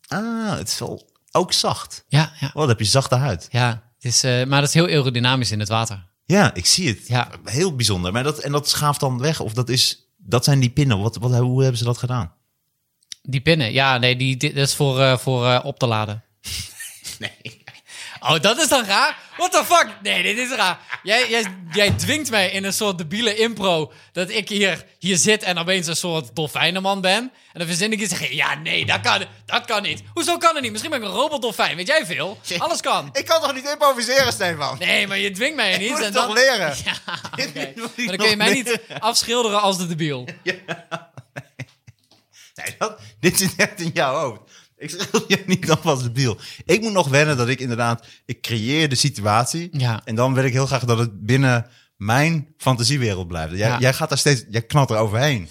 [SPEAKER 1] Ah, het is wel ook zacht.
[SPEAKER 2] Ja, ja.
[SPEAKER 1] Oh, dan heb je zachte huid.
[SPEAKER 2] ja het is, eh, maar dat is heel aerodynamisch in het water.
[SPEAKER 1] Ja, ik zie het.
[SPEAKER 2] Ja.
[SPEAKER 1] Heel bijzonder. Maar dat, en dat schaaft dan weg. Of dat, is, dat zijn die pinnen. Wat, wat, hoe hebben ze dat gedaan?
[SPEAKER 2] Die pinnen, ja, nee, die, die- dat is voor, eh, voor eh, op te laden. Nee. Oh, dat is dan raar? What the fuck? Nee, dit is raar. Jij, jij, jij dwingt mij in een soort debiele impro dat ik hier, hier zit en opeens een soort dolfijnenman ben. En dan verzin ik iets en zeg je, ja, nee, dat kan, dat kan niet. Hoezo kan het niet? Misschien ben ik een robotdolfijn, weet jij veel? Alles kan.
[SPEAKER 1] Ik kan toch niet improviseren, Stefan?
[SPEAKER 2] Nee, maar je dwingt mij er niet. en dan-
[SPEAKER 1] leren?
[SPEAKER 2] Ja, oké. Maar dan kun je mij niet afschilderen als de debiel.
[SPEAKER 1] Nee, dat, dit zit echt in jouw hoofd. Ik schil je niet dan was debiel. Ik moet nog wennen dat ik inderdaad... Ik creëer de situatie.
[SPEAKER 2] Ja.
[SPEAKER 1] En dan wil ik heel graag dat het binnen mijn fantasiewereld blijft. Jij,
[SPEAKER 2] Ja.
[SPEAKER 1] jij gaat daar steeds... Jij knalt er overheen.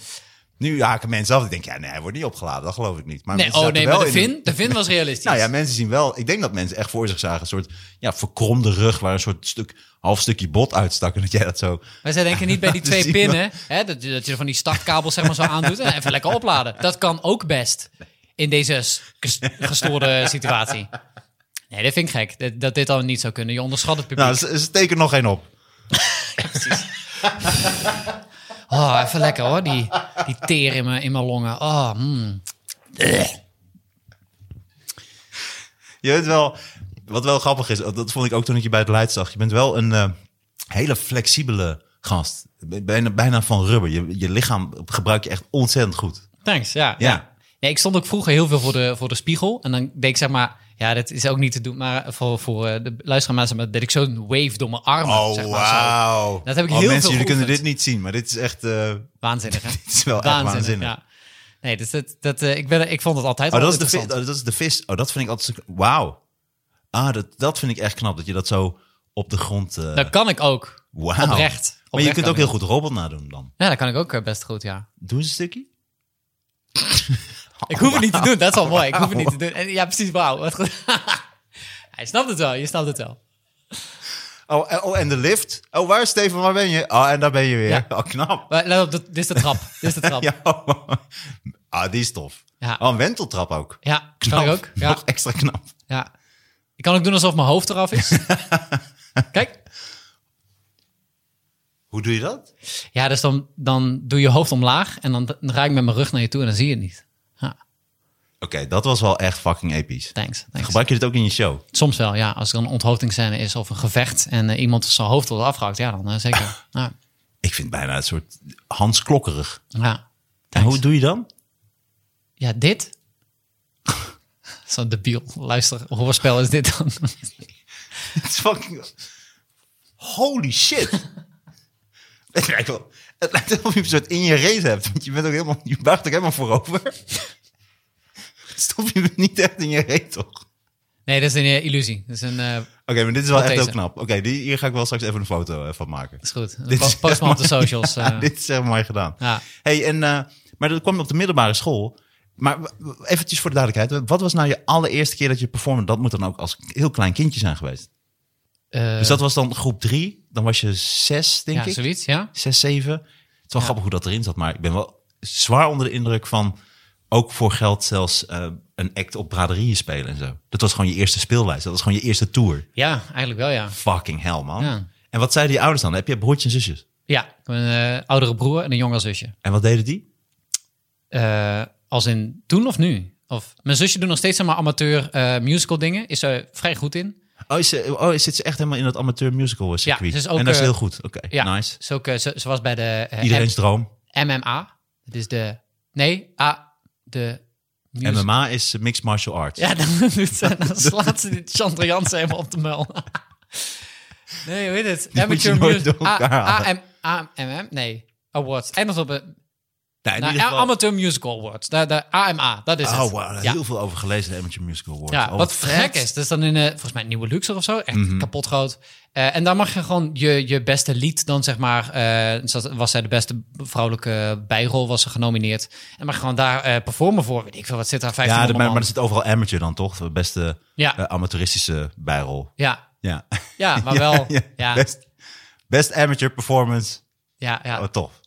[SPEAKER 1] Nu haken mensen af. Ik denk, ja, nee, hij wordt niet opgeladen. Dat geloof ik niet. Maar
[SPEAKER 2] Nee,
[SPEAKER 1] mensen
[SPEAKER 2] oh
[SPEAKER 1] zaten
[SPEAKER 2] nee,
[SPEAKER 1] wel
[SPEAKER 2] maar de
[SPEAKER 1] in
[SPEAKER 2] vin, de vin was realistisch.
[SPEAKER 1] Nou ja, mensen zien wel... Ik denk dat mensen echt voor zich zagen. Een soort ja, verkromde rug waar een soort stuk, half stukje bot uitstak. En dat jij dat zo...
[SPEAKER 2] Maar zij denken niet bij die
[SPEAKER 1] Dat
[SPEAKER 2] twee
[SPEAKER 1] zie je wel.
[SPEAKER 2] pinnen, hè, dat, je- dat je van die startkabels zeg maar zo aandoet en even lekker opladen. Dat kan ook best in deze s- ges- gestoorde situatie. Nee, dat vind ik gek, dat, dat dit al niet zou kunnen. Je onderschat het publiek.
[SPEAKER 1] Nou, ze, ze tekenen nog geen op.
[SPEAKER 2] Oh, even lekker hoor, die, die teer in mijn, in mijn longen. Oh, mm.
[SPEAKER 1] Je bent wel, wat wel grappig is, dat vond ik ook toen ik je bij het Leid zag. Je bent wel een eh, hele flexibele gast. Bijna, bijna van rubber. Je, je lichaam gebruik je echt ontzettend goed.
[SPEAKER 2] Thanks, ja.
[SPEAKER 1] Ja.
[SPEAKER 2] Nee, ik stond ook vroeger heel veel voor de, voor de spiegel. En dan deed ik zeg maar, ja, dat is ook niet te doen, maar voor, voor eh, de luisteraar maar, zeg maar, deed ik zo'n wave door mijn armen. zeg maar, zo.
[SPEAKER 1] Oh, wauw.
[SPEAKER 2] Dat heb ik
[SPEAKER 1] Oh,
[SPEAKER 2] heel
[SPEAKER 1] mensen,
[SPEAKER 2] veel
[SPEAKER 1] jullie kunnen dit
[SPEAKER 2] geoefend.
[SPEAKER 1] niet zien, maar dit is echt... eh,
[SPEAKER 2] Waanzinnig, hè?
[SPEAKER 1] dit is wel echt waanzinnig.
[SPEAKER 2] ja. Nee, dus dat, dat, eh, ik, ben, er- ik vond het altijd
[SPEAKER 1] Oh,
[SPEAKER 2] wel
[SPEAKER 1] dat is, de vis,
[SPEAKER 2] interessant.
[SPEAKER 1] oh, dat is de vis. Oh, dat vind ik altijd... zo- Wauw. Ah, dat, dat vind ik echt knap, dat je dat zo op de grond. eh
[SPEAKER 2] Dat kan ik ook.
[SPEAKER 1] wauw.
[SPEAKER 2] Oprecht.
[SPEAKER 1] Maar je
[SPEAKER 2] Oprecht
[SPEAKER 1] kunt
[SPEAKER 2] kan
[SPEAKER 1] ook
[SPEAKER 2] ik.
[SPEAKER 1] heel goed robot nadoen dan.
[SPEAKER 2] Ja, dat kan ik ook eh, best goed, ja.
[SPEAKER 1] Doe eens een stukje.
[SPEAKER 2] Ik hoef het niet te doen, dat is wel mooi. Ik hoef het niet te doen. En, ja, precies, wauw. Wat goed. Hij snapt het wel, je snapt het wel.
[SPEAKER 1] Oh, en- oh, en de lift. Oh, waar Steven, waar ben je? Oh, en daar ben je weer.
[SPEAKER 2] Ja.
[SPEAKER 1] Oh, knap.
[SPEAKER 2] Maar let op, dat- dit is de trap. Dit is de trap. Ja,
[SPEAKER 1] Ja, oh, ah, die is tof.
[SPEAKER 2] Ja.
[SPEAKER 1] Oh, een wenteltrap ook.
[SPEAKER 2] kan ik
[SPEAKER 1] Knap.
[SPEAKER 2] ook. Ja,
[SPEAKER 1] Nog extra knap.
[SPEAKER 2] ja. Ik kan ook doen alsof mijn hoofd eraf is. Kijk.
[SPEAKER 1] Hoe doe je dat?
[SPEAKER 2] Ja, dus dan, dan doe je hoofd omlaag en dan draai ik met mijn rug naar je toe en dan zie je het niet. Ja,
[SPEAKER 1] Oké, dat was wel echt fucking episch.
[SPEAKER 2] thanks. thanks.
[SPEAKER 1] Gebruik je dit ook in je show?
[SPEAKER 2] Soms wel, ja. Als er een onthoofdingsscène is of een gevecht en eh, iemand zijn hoofd wordt afgehakt, ja, dan eh, zeker. Ja.
[SPEAKER 1] Ik vind het bijna een soort Hans Klokkerig.
[SPEAKER 2] ja.
[SPEAKER 1] En hoe doe je dan?
[SPEAKER 2] Ja, dit? Zo'n debiel luister hoorspel is dit dan.
[SPEAKER 1] Het is fucking... Holy shit. het lijkt wel... Het lijkt alsof je een soort in je race hebt. Want je bent ook helemaal... Je buigt ook helemaal voorover. Stop je niet echt in je race, toch? Oké,
[SPEAKER 2] Nee, dat is een eh, illusie. Dat is een... eh,
[SPEAKER 1] maar dit is wel
[SPEAKER 2] Wat
[SPEAKER 1] echt
[SPEAKER 2] deze?
[SPEAKER 1] heel knap. Oké, die hier ga ik wel straks even een foto eh, van maken.
[SPEAKER 2] is goed.
[SPEAKER 1] Dit is
[SPEAKER 2] Po- Post maar op de
[SPEAKER 1] helemaal-
[SPEAKER 2] socials.
[SPEAKER 1] Ja,
[SPEAKER 2] eh.
[SPEAKER 1] dit is echt mooi gedaan.
[SPEAKER 2] Ja.
[SPEAKER 1] Hey, en, eh, maar dat kwam op de middelbare school. Maar w- w- eventjes voor de duidelijkheid. Wat was nou je allereerste keer dat je performde? Dat moet dan ook als heel klein kindje zijn geweest.
[SPEAKER 2] Eh,
[SPEAKER 1] Dus dat was dan groep drie. Dan was je zes, denk
[SPEAKER 2] ja,
[SPEAKER 1] ik.
[SPEAKER 2] zoiets, ja.
[SPEAKER 1] Zes, zeven. Het is wel grappig hoe dat erin zat. Maar ik ben wel zwaar onder de indruk van... ook voor geld zelfs eh, een act op braderieën spelen en zo. Dat was gewoon je eerste speellijst. Dat was gewoon je eerste tour.
[SPEAKER 2] Ja, eigenlijk wel, ja.
[SPEAKER 1] Fucking hell, man.
[SPEAKER 2] Ja.
[SPEAKER 1] En wat zeiden je ouders dan? Heb je broertjes en zusjes?
[SPEAKER 2] Ja, ik heb een eh, oudere broer en een jongere zusje.
[SPEAKER 1] En wat deden die?
[SPEAKER 2] Eh, als in toen of nu? Of, mijn zusje doet nog steeds zeg maar, amateur eh, musical dingen. Is er vrij goed in.
[SPEAKER 1] Oh, is ze, oh, zit ze echt helemaal in dat amateur musical circuit?
[SPEAKER 2] Ja, ze is ook,
[SPEAKER 1] en dat is
[SPEAKER 2] eh,
[SPEAKER 1] heel goed. Oké,
[SPEAKER 2] Ja,
[SPEAKER 1] nice.
[SPEAKER 2] Ze, ook, eh, ze, ze was bij de eh,
[SPEAKER 1] Iedereen's droom.
[SPEAKER 2] M- MMA. Dat is de... Nee, A, de... music-
[SPEAKER 1] MMA is eh, mixed martial arts.
[SPEAKER 2] dus- Ja, dan, doet ze- dan slaat ze die Chandra Jansen helemaal op de muil. Nee, hoe heet het?
[SPEAKER 1] Die moet je nooit door
[SPEAKER 2] A-
[SPEAKER 1] elkaar halen.
[SPEAKER 2] A- M- AMM? Nee. Awards. Eindigt op een...
[SPEAKER 1] Nou, in
[SPEAKER 2] nou,
[SPEAKER 1] ieder geval-
[SPEAKER 2] Amateur Musical Awards. De, de AMA, dat is het.
[SPEAKER 1] oh, wow,
[SPEAKER 2] ja.
[SPEAKER 1] heel veel over gelezen, de Amateur Musical Awards.
[SPEAKER 2] Ja,
[SPEAKER 1] Oh,
[SPEAKER 2] wat, gek is. Dat is dan in, eh, volgens mij, Nieuwe Luxor of zo. Echt
[SPEAKER 1] Mhm.
[SPEAKER 2] kapot groot. Eh, en daar mag je gewoon je, je beste lied dan, zeg maar... eh, ze- was zij de beste vrouwelijke bijrol, was ze genomineerd. En mag je gewoon daar eh, performen voor. Weet ik veel, wat zit daar?
[SPEAKER 1] Ja,
[SPEAKER 2] 500
[SPEAKER 1] de- maar, maar
[SPEAKER 2] man.
[SPEAKER 1] er zit overal amateur dan, toch? De beste
[SPEAKER 2] Ja.
[SPEAKER 1] eh, amateuristische bijrol.
[SPEAKER 2] Ja,
[SPEAKER 1] Ja,
[SPEAKER 2] ja, maar wel...
[SPEAKER 1] ja,
[SPEAKER 2] ja.
[SPEAKER 1] Best, best amateur performance.
[SPEAKER 2] Ja, ja.
[SPEAKER 1] Oh, tof.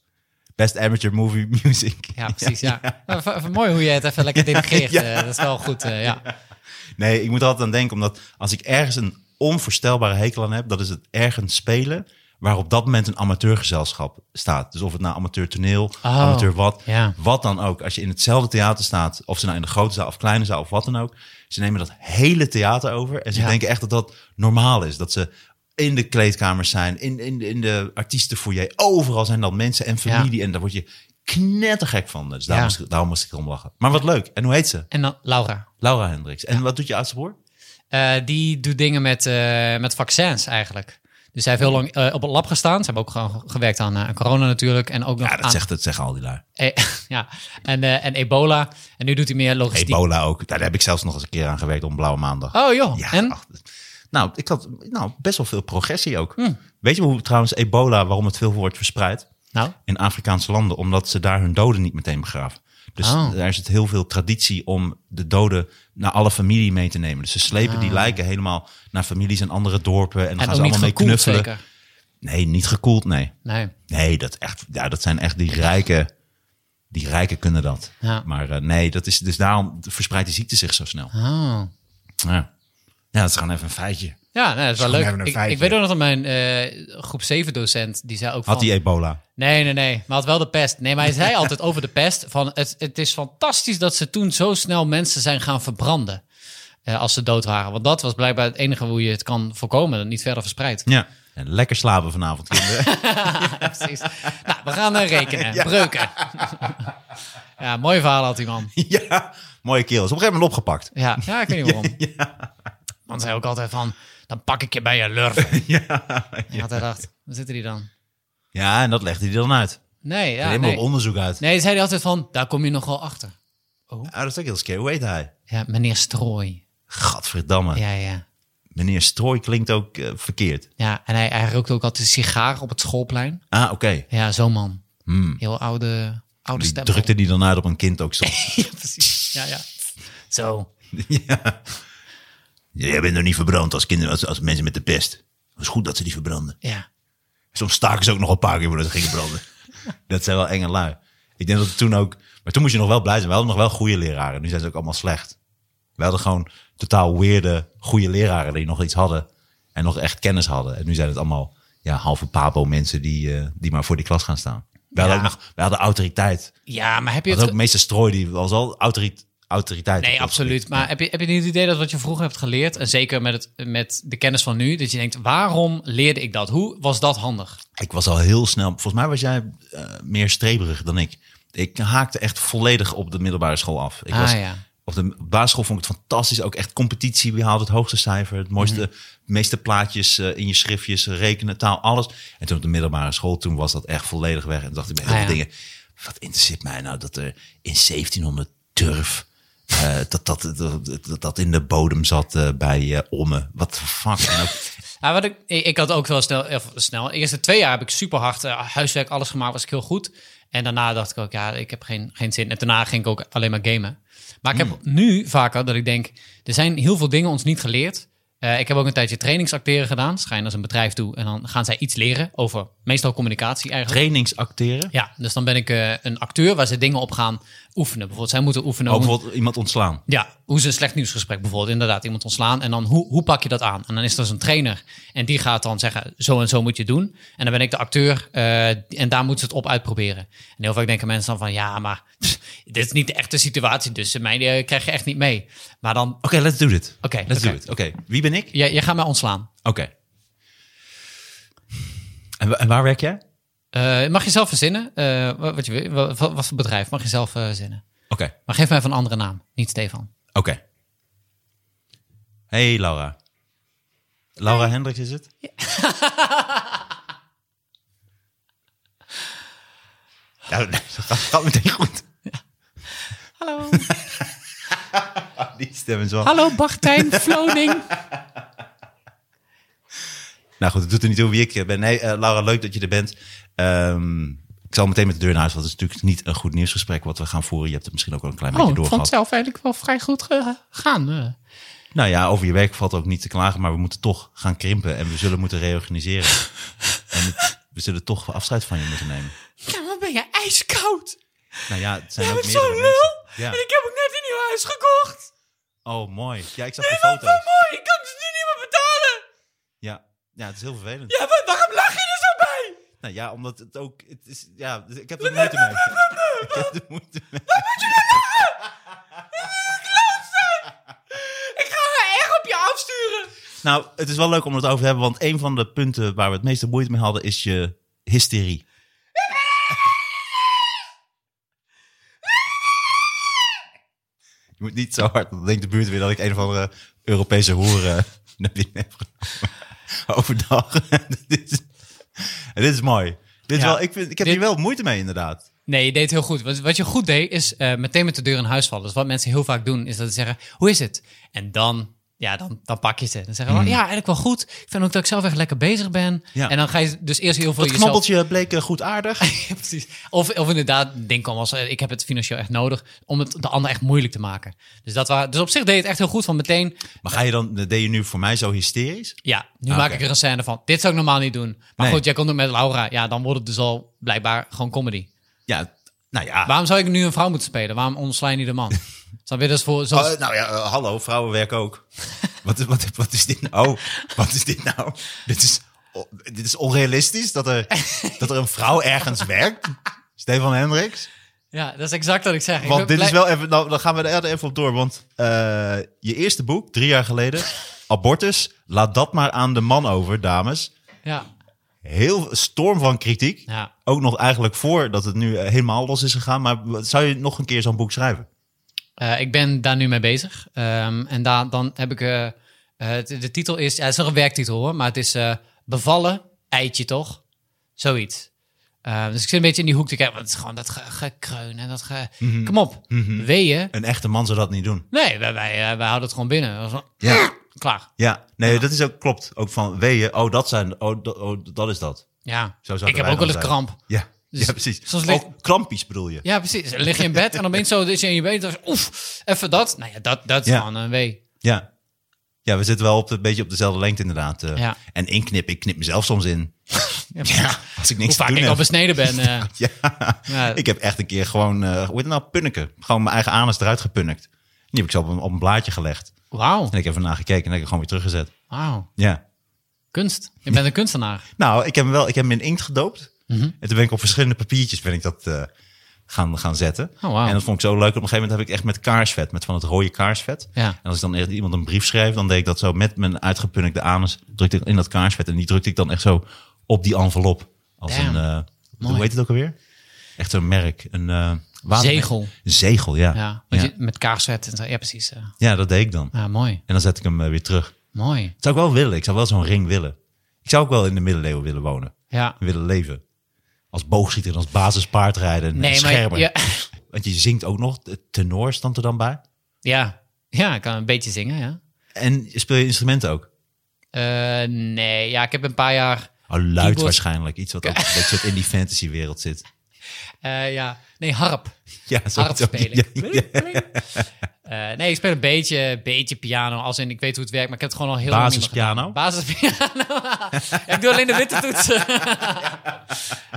[SPEAKER 1] Best amateur movie music.
[SPEAKER 2] Ja, precies. Ja. Maar v- v- mooi hoe je het even lekker delegeert. eh, dat is wel goed. eh, ja.
[SPEAKER 1] Nee, ik moet er altijd aan denken, omdat als ik ergens een onvoorstelbare hekel aan heb, dat is het ergens spelen waar op dat moment een amateurgezelschap staat. Dus of het nou amateur toneel, amateur wat,
[SPEAKER 2] Oh, ja.
[SPEAKER 1] wat dan ook. Als je in hetzelfde theater staat, of ze nou in de grote zaal of kleine zaal of wat dan ook, ze nemen dat hele theater over en ze
[SPEAKER 2] Ja.
[SPEAKER 1] denken echt dat dat normaal is. Dat ze in de kleedkamers zijn, in, in, in de artiestenfoyer, overal zijn dan mensen en familie en daar word je knettergek van. Dus daarom,
[SPEAKER 2] Ja.
[SPEAKER 1] moest, ik- daarom moest ik erom lachen. Maar wat leuk. En hoe heet ze?
[SPEAKER 2] En dan Laura.
[SPEAKER 1] Laura Hendricks. En wat doet je oudste broer?
[SPEAKER 2] Eh, die doet dingen met, eh, met vaccins eigenlijk. Dus zij heeft heel lang eh, op het lab gestaan. Ze hebben ook gewoon gewerkt aan eh, aan corona natuurlijk. En ook nog
[SPEAKER 1] Ja, dat
[SPEAKER 2] aan-
[SPEAKER 1] zegt het, zeggen al die lui.
[SPEAKER 2] eh, ja. En, eh, en ebola. En nu doet hij meer logistiek.
[SPEAKER 1] Ebola ook. Daar heb ik zelfs nog eens een keer aan gewerkt om Blauwe Maandag.
[SPEAKER 2] Dus Oh joh.
[SPEAKER 1] Ja,
[SPEAKER 2] en?
[SPEAKER 1] ach, nou, ik had nou, best wel veel progressie ook.
[SPEAKER 2] Hmm.
[SPEAKER 1] Weet je hoe trouwens ebola, waarom het veel wordt verspreid?
[SPEAKER 2] Nou,
[SPEAKER 1] In Afrikaanse landen, omdat ze daar hun doden niet meteen begraven. Dus
[SPEAKER 2] Oh.
[SPEAKER 1] daar zit heel veel traditie om de doden naar alle familie mee te nemen. Dus ze slepen die lijken helemaal naar families en andere dorpen. En dan
[SPEAKER 2] Ah. en
[SPEAKER 1] gaan
[SPEAKER 2] ook
[SPEAKER 1] ze
[SPEAKER 2] niet
[SPEAKER 1] allemaal mee
[SPEAKER 2] gekoeld
[SPEAKER 1] knuffelen.
[SPEAKER 2] zeker.
[SPEAKER 1] Nee, niet gekoeld, nee.
[SPEAKER 2] Nee.
[SPEAKER 1] Nee, dat, echt, ja, dat zijn echt die rijken. Die rijken kunnen dat.
[SPEAKER 2] Ja.
[SPEAKER 1] Maar eh, nee, dat is, dus daarom verspreidt die ziekte zich zo snel.
[SPEAKER 2] Oh.
[SPEAKER 1] Ja. ja, dat is gewoon even een feitje.
[SPEAKER 2] Ja, nee, dat is wel
[SPEAKER 1] gewoon
[SPEAKER 2] leuk.
[SPEAKER 1] even een
[SPEAKER 2] Ik,
[SPEAKER 1] feitje.
[SPEAKER 2] ik weet ook nog dat mijn eh, groep 7 docent, die zei ook
[SPEAKER 1] Had
[SPEAKER 2] van...
[SPEAKER 1] die ebola?
[SPEAKER 2] Nee, nee, nee. Maar had wel de pest. Nee, maar hij zei altijd over de pest. Van het, het is fantastisch dat ze toen zo snel mensen zijn gaan verbranden. eh, als ze dood waren. Want dat was blijkbaar het enige hoe je het kan voorkomen. Dat het niet verder verspreidt.
[SPEAKER 1] Ja. En lekker slapen vanavond, kinderen.
[SPEAKER 2] Ja, precies. Nou, we gaan eh, rekenen. Breuken. ja, mooi verhaal had die man.
[SPEAKER 1] ja, mooie kerel. Is op een gegeven moment opgepakt.
[SPEAKER 2] Ja, ja ik weet niet waarom. Want hij ook altijd van, dan pak ik je bij je lurf. En had hij dacht, waar zitten die dan?
[SPEAKER 1] Ja, en dat legde hij dan uit.
[SPEAKER 2] Nee, ja,
[SPEAKER 1] Helemaal
[SPEAKER 2] nee.
[SPEAKER 1] op onderzoek uit.
[SPEAKER 2] Nee, zei hij altijd van, daar kom je nog wel achter.
[SPEAKER 1] Ah, dat is ook heel scary. Hoe heet hij?
[SPEAKER 2] Ja, meneer Strooi.
[SPEAKER 1] Gadverdamme.
[SPEAKER 2] Ja, ja.
[SPEAKER 1] meneer Strooi klinkt ook eh, verkeerd.
[SPEAKER 2] Ja, en hij, hij rookt ook altijd een sigaar op het schoolplein.
[SPEAKER 1] Ah, oké.
[SPEAKER 2] Ja, zo'n man. Heel oude, oude
[SPEAKER 1] Hmm. Die
[SPEAKER 2] stem.
[SPEAKER 1] drukte die dan uit op een kind ook zo.
[SPEAKER 2] ja, precies. Ja, ja. Zo.
[SPEAKER 1] Jij bent nog niet verbrand als kinderen, als, als mensen met de pest. Het is goed dat ze die verbranden.
[SPEAKER 2] Ja.
[SPEAKER 1] Soms staken ze ook nog een paar keer voordat ze gingen branden. dat zijn wel enge lui. Ik denk dat het toen ook... Maar toen moest je nog wel blij zijn. We hadden nog wel goede leraren. Nu zijn ze ook allemaal slecht. We hadden gewoon totaal weerde goede leraren die nog iets hadden. En nog echt kennis hadden. En nu zijn het allemaal ja, halve pabo mensen die, eh, die maar voor die klas gaan staan. We hadden,
[SPEAKER 2] Ja.
[SPEAKER 1] ook nog, we hadden autoriteit.
[SPEAKER 2] Ja, maar heb je
[SPEAKER 1] Dat
[SPEAKER 2] het...
[SPEAKER 1] was ook meester Strooi, die was al autorit- autoriteit. op
[SPEAKER 2] Nee,
[SPEAKER 1] dat
[SPEAKER 2] absoluut.
[SPEAKER 1] gebied.
[SPEAKER 2] Maar heb je, heb je niet het idee dat wat je vroeger hebt geleerd, en zeker met, het, met de kennis van nu, dat je denkt, waarom leerde ik dat? Hoe was dat handig?
[SPEAKER 1] Ik was al heel snel. Volgens mij was jij eh, meer streberig dan ik. Ik haakte echt volledig op de middelbare school af. Ik
[SPEAKER 2] Ah,
[SPEAKER 1] was,
[SPEAKER 2] ja.
[SPEAKER 1] Op de basisschool vond ik het fantastisch. Ook echt competitie. Wie haalt het hoogste cijfer? Het mooiste,
[SPEAKER 2] Mhm.
[SPEAKER 1] meeste plaatjes eh, in je schriftjes, rekenen, taal, alles. En toen op de middelbare school, toen was dat echt volledig weg. En toen dacht ik bij heel
[SPEAKER 2] Ah,
[SPEAKER 1] veel
[SPEAKER 2] ja.
[SPEAKER 1] dingen. Wat interesseert mij nou dat er in 1700 turf. eh, dat, dat, dat, dat, dat in de bodem zat eh, bij eh, Omme. Wat de fuck. En ook,
[SPEAKER 2] Ja, wat ik, ik ik had ook wel snel, of snel. De eerste twee jaar heb ik super hard huiswerk, alles gemaakt, was ik heel goed. En daarna dacht ik ook, ja, ik heb geen, geen zin. En daarna ging ik ook alleen maar gamen. Maar ik heb nu vaker dat ik denk, er zijn heel veel dingen ons niet geleerd. Eh, ik heb ook een tijdje trainingsacteren gedaan. Schijn als een bedrijf toe en dan gaan zij iets leren over meestal communicatie eigenlijk.
[SPEAKER 1] trainingsacteren.
[SPEAKER 2] Ja, dus dan ben ik eh, een acteur waar ze dingen op gaan oefenen. Bijvoorbeeld, zij moeten oefenen.
[SPEAKER 1] Ook
[SPEAKER 2] hoe-
[SPEAKER 1] bijvoorbeeld iemand ontslaan.
[SPEAKER 2] ja, hoe is een slecht nieuwsgesprek bijvoorbeeld? Inderdaad, iemand ontslaan. En dan hoe, hoe pak je dat aan? En dan is er zo'n trainer. En die gaat dan zeggen, zo en zo moet je het doen. En dan ben ik de acteur. eh, en daar moeten ze het op uitproberen. En heel vaak denken mensen dan van, ja, maar pff, dit is niet de echte situatie. Dus mij eh, krijg je echt niet mee. Maar dan,
[SPEAKER 1] Oké, let's do it.
[SPEAKER 2] Oké,
[SPEAKER 1] let's
[SPEAKER 2] oké.
[SPEAKER 1] do it. Oké, wie ben ik?
[SPEAKER 2] jij, jij gaat mij ontslaan.
[SPEAKER 1] Oké. En, wa- en waar werk jij? Oké.
[SPEAKER 2] Eh, mag je zelf verzinnen? eh, wa- wat, je, wil. Wa- wa- wat, voor bedrijf? Mag je zelf eh, verzinnen?
[SPEAKER 1] Oké.
[SPEAKER 2] Maar geef mij even een andere naam. Niet Stefan.
[SPEAKER 1] Hey Laura. Laura Hendricks is het? Ja. nou, dat gaat, gaat meteen goed.
[SPEAKER 2] Hallo.
[SPEAKER 1] Die stem is wel.
[SPEAKER 2] Hallo Bartijn Floning.
[SPEAKER 1] Nou goed, het doet er niet toe wie ik ben. Nee, eh, Laura, leuk dat je er bent. Ehm, ik zal meteen met de deur naar huis, want het is natuurlijk niet een goed nieuwsgesprek wat we gaan voeren. Je hebt het misschien ook al een klein
[SPEAKER 2] Oh,
[SPEAKER 1] beetje
[SPEAKER 2] ik vond het
[SPEAKER 1] doorgehad.
[SPEAKER 2] zelf eigenlijk wel vrij goed gegaan. eh.
[SPEAKER 1] Nou ja, over je werk valt ook niet te klagen, maar we moeten toch gaan krimpen en we zullen moeten reorganiseren. en het- we zullen toch afscheid van je moeten nemen.
[SPEAKER 2] Ja, maar ben je ijskoud?
[SPEAKER 1] Nou ja, het zijn
[SPEAKER 2] Jij
[SPEAKER 1] ook
[SPEAKER 2] bent
[SPEAKER 1] meerdere mensen.
[SPEAKER 2] zo'n lul.
[SPEAKER 1] Ja.
[SPEAKER 2] En ik heb ook net een nieuw huis gekocht.
[SPEAKER 1] Oh, mooi. Ja, ik zag de
[SPEAKER 2] Wat wel
[SPEAKER 1] foto's.
[SPEAKER 2] mooi, ik kan dus nu niet meer betalen.
[SPEAKER 1] Ja. ja, het is heel vervelend.
[SPEAKER 2] Ja, maar waarom lach je er zo bij?
[SPEAKER 1] Nou ja, omdat het ook... Het is, ja, dus ik heb er moeite mee. ik heb er moeite mee.
[SPEAKER 2] Ik ga haar echt op je afsturen.
[SPEAKER 1] Nou, het is wel leuk om het over te hebben, want een van de punten waar we het meeste moeite mee hadden is je hysterie. Je moet niet zo hard, want dan denkt de buurt weer dat ik een of andere Europese hoer eh, naar binnen heb genomen. Overdag. dit, is, en dit is mooi. Dit is
[SPEAKER 2] Ja.
[SPEAKER 1] wel, ik, vind, ik heb
[SPEAKER 2] Dit-
[SPEAKER 1] hier wel moeite mee, inderdaad.
[SPEAKER 2] Nee, je deed heel goed. Wat, wat je goed deed, is eh, meteen met de deur in huis vallen. Dus wat mensen heel vaak doen, is dat ze zeggen, hoe is het? En dan, ja, dan, dan pak je ze. Dan zeggen we, ja, eigenlijk wel goed. Ik vind ook dat ik zelf echt lekker bezig ben.
[SPEAKER 1] Hmm. Ja.
[SPEAKER 2] En dan ga je dus eerst heel veel
[SPEAKER 1] Dat
[SPEAKER 2] jezelf...
[SPEAKER 1] knobbeltje bleek eh, goed aardig.
[SPEAKER 2] Ja, precies. Of, of inderdaad, denk kwam als eh, ik heb het financieel echt nodig om het de ander echt moeilijk te maken. Dus, dat wa- dus op zich deed je het echt heel goed van meteen.
[SPEAKER 1] Maar ga je dan, deed je nu voor mij zo hysterisch?
[SPEAKER 2] Ja, nu
[SPEAKER 1] Ah,
[SPEAKER 2] maak
[SPEAKER 1] oké.
[SPEAKER 2] ik er een scène van. Dit zou ik normaal niet doen. Maar
[SPEAKER 1] Nee.
[SPEAKER 2] goed, jij komt ook met Laura. Ja, dan wordt het dus al blijkbaar gewoon comedy.
[SPEAKER 1] Ja, nou ja.
[SPEAKER 2] Waarom zou ik nu een vrouw moeten spelen? Waarom ontsla je niet de man? Snap je? Dat is voor, zoals,
[SPEAKER 1] Oh, nou ja, eh, hallo, vrouwen werken ook. wat, wat, wat is dit nou? Wat is dit nou? Dit is, o- dit is onrealistisch dat er, dat er een vrouw ergens werkt. Stefan Hendricks.
[SPEAKER 2] ja, dat is exact wat ik zeg. Ik
[SPEAKER 1] Want
[SPEAKER 2] ben
[SPEAKER 1] dit is
[SPEAKER 2] blij-
[SPEAKER 1] wel even, nou, dan gaan we er even op door. Want eh, je eerste boek, drie jaar geleden, Abortus, laat dat maar aan de man over, dames.
[SPEAKER 2] Ja,
[SPEAKER 1] Heel storm van kritiek.
[SPEAKER 2] ja.
[SPEAKER 1] Ook nog eigenlijk voor dat het nu eh, helemaal los is gegaan. Maar wat- zou je nog een keer zo'n boek schrijven?
[SPEAKER 2] Eh, ik ben daar nu mee bezig. Ehm, en daar dan heb ik. eh, eh, de, de titel is. ja, het is nog een werktitel hoor, maar het is eh, Bevallen, eitje toch? Zoiets. Ehm, dus ik zit een beetje in die hoek te kijken. Want het is gewoon dat ge- gekreun en dat ge...
[SPEAKER 1] Mhm.
[SPEAKER 2] Kom op, weeën.
[SPEAKER 1] Een echte man zou dat niet doen.
[SPEAKER 2] Nee, wij, wij, eh, wij houden het gewoon binnen. Dat is wel-
[SPEAKER 1] Ja.
[SPEAKER 2] Klaar.
[SPEAKER 1] Ja, nee, dat is ook, klopt. Ook van weeën, oh, dat, zijn, oh, dat, oh, dat is dat.
[SPEAKER 2] Ja.
[SPEAKER 1] Zo zouden
[SPEAKER 2] ik heb
[SPEAKER 1] wij
[SPEAKER 2] ook wel
[SPEAKER 1] dan
[SPEAKER 2] eens
[SPEAKER 1] zijn.
[SPEAKER 2] kramp.
[SPEAKER 1] Ja,
[SPEAKER 2] Dus
[SPEAKER 1] ja precies.
[SPEAKER 2] soms ligt-
[SPEAKER 1] Ook krampies bedoel je.
[SPEAKER 2] Ja, precies. Dan lig je in bed en opeens zo is je in je been. Dan is- Oef, even dat. Nou ja, dat, dat is
[SPEAKER 1] Ja.
[SPEAKER 2] gewoon een wee.
[SPEAKER 1] Ja. Ja, we zitten wel op de, een beetje op dezelfde lengte inderdaad. eh.
[SPEAKER 2] Ja.
[SPEAKER 1] En inknip, ik knip mezelf soms in. Ja, als ik
[SPEAKER 2] Hoe
[SPEAKER 1] niks te
[SPEAKER 2] vaak
[SPEAKER 1] doen
[SPEAKER 2] ik al
[SPEAKER 1] heb.
[SPEAKER 2] besneden ben. eh.
[SPEAKER 1] Ja.
[SPEAKER 2] Ja.
[SPEAKER 1] Ik heb echt een keer gewoon, eh, hoe heet het nou, punniken. Gewoon mijn eigen anus eruit gepunnikt. Die heb ik zo op een, op een blaadje gelegd.
[SPEAKER 2] Wauw.
[SPEAKER 1] En ik heb ernaar gekeken en heb ik gewoon weer teruggezet.
[SPEAKER 2] Wauw.
[SPEAKER 1] Ja.
[SPEAKER 2] Kunst. Je bent een kunstenaar.
[SPEAKER 1] Nou, ik heb hem wel, ik heb hem in inkt gedoopt.
[SPEAKER 2] Mhm.
[SPEAKER 1] En toen ben ik op verschillende papiertjes ben ik dat eh, gaan, gaan zetten.
[SPEAKER 2] Oh, wauw.
[SPEAKER 1] En dat vond ik zo leuk. Op een gegeven moment heb ik echt met kaarsvet, met van het rode kaarsvet.
[SPEAKER 2] Ja.
[SPEAKER 1] En als ik dan echt iemand een brief schreef, dan deed ik dat zo met mijn uitgepunnikte anus. Drukte ik in dat kaarsvet en die drukte ik dan echt zo op die envelop. Als
[SPEAKER 2] Damn.
[SPEAKER 1] een, eh,
[SPEAKER 2] Mooi.
[SPEAKER 1] hoe heet het ook alweer? Echt een merk. Een eh, watermerk.
[SPEAKER 2] Zegel.
[SPEAKER 1] Een zegel, ja.
[SPEAKER 2] Ja.
[SPEAKER 1] Ja.
[SPEAKER 2] Want Je, met kaars zetten. en zo. Ja, precies. eh.
[SPEAKER 1] Ja, dat deed ik dan.
[SPEAKER 2] Ja, mooi.
[SPEAKER 1] En dan zet ik hem eh, weer terug.
[SPEAKER 2] Mooi.
[SPEAKER 1] Dat zou ik wel willen. Ik zou wel zo'n ring willen. Ik zou ook wel in de middeleeuwen willen wonen
[SPEAKER 2] Ja.
[SPEAKER 1] willen leven. Als boogschieter, en als basispaardrijder en
[SPEAKER 2] Nee, maar...
[SPEAKER 1] scherper.
[SPEAKER 2] Ja,
[SPEAKER 1] Want je zingt ook nog, de tenor stond er dan bij.
[SPEAKER 2] ja. ja, ik kan een beetje zingen, ja.
[SPEAKER 1] En speel je instrumenten ook?
[SPEAKER 2] Eh, nee, ja, ik heb een paar jaar...
[SPEAKER 1] Oh, luid
[SPEAKER 2] Keyboard.
[SPEAKER 1] waarschijnlijk. Iets wat ook een beetje wat in die fantasywereld zit.
[SPEAKER 2] eh, ja, nee, harp.
[SPEAKER 1] Ja, zo-
[SPEAKER 2] Harp
[SPEAKER 1] zo-
[SPEAKER 2] spelen.
[SPEAKER 1] ja,
[SPEAKER 2] Eh, nee, ik speel een beetje, beetje piano. Als in, ik weet hoe het werkt, maar ik heb het gewoon al heel lang niet meer gedaan.
[SPEAKER 1] Basispiano?
[SPEAKER 2] Basispiano. ja, ik doe alleen de witte toetsen.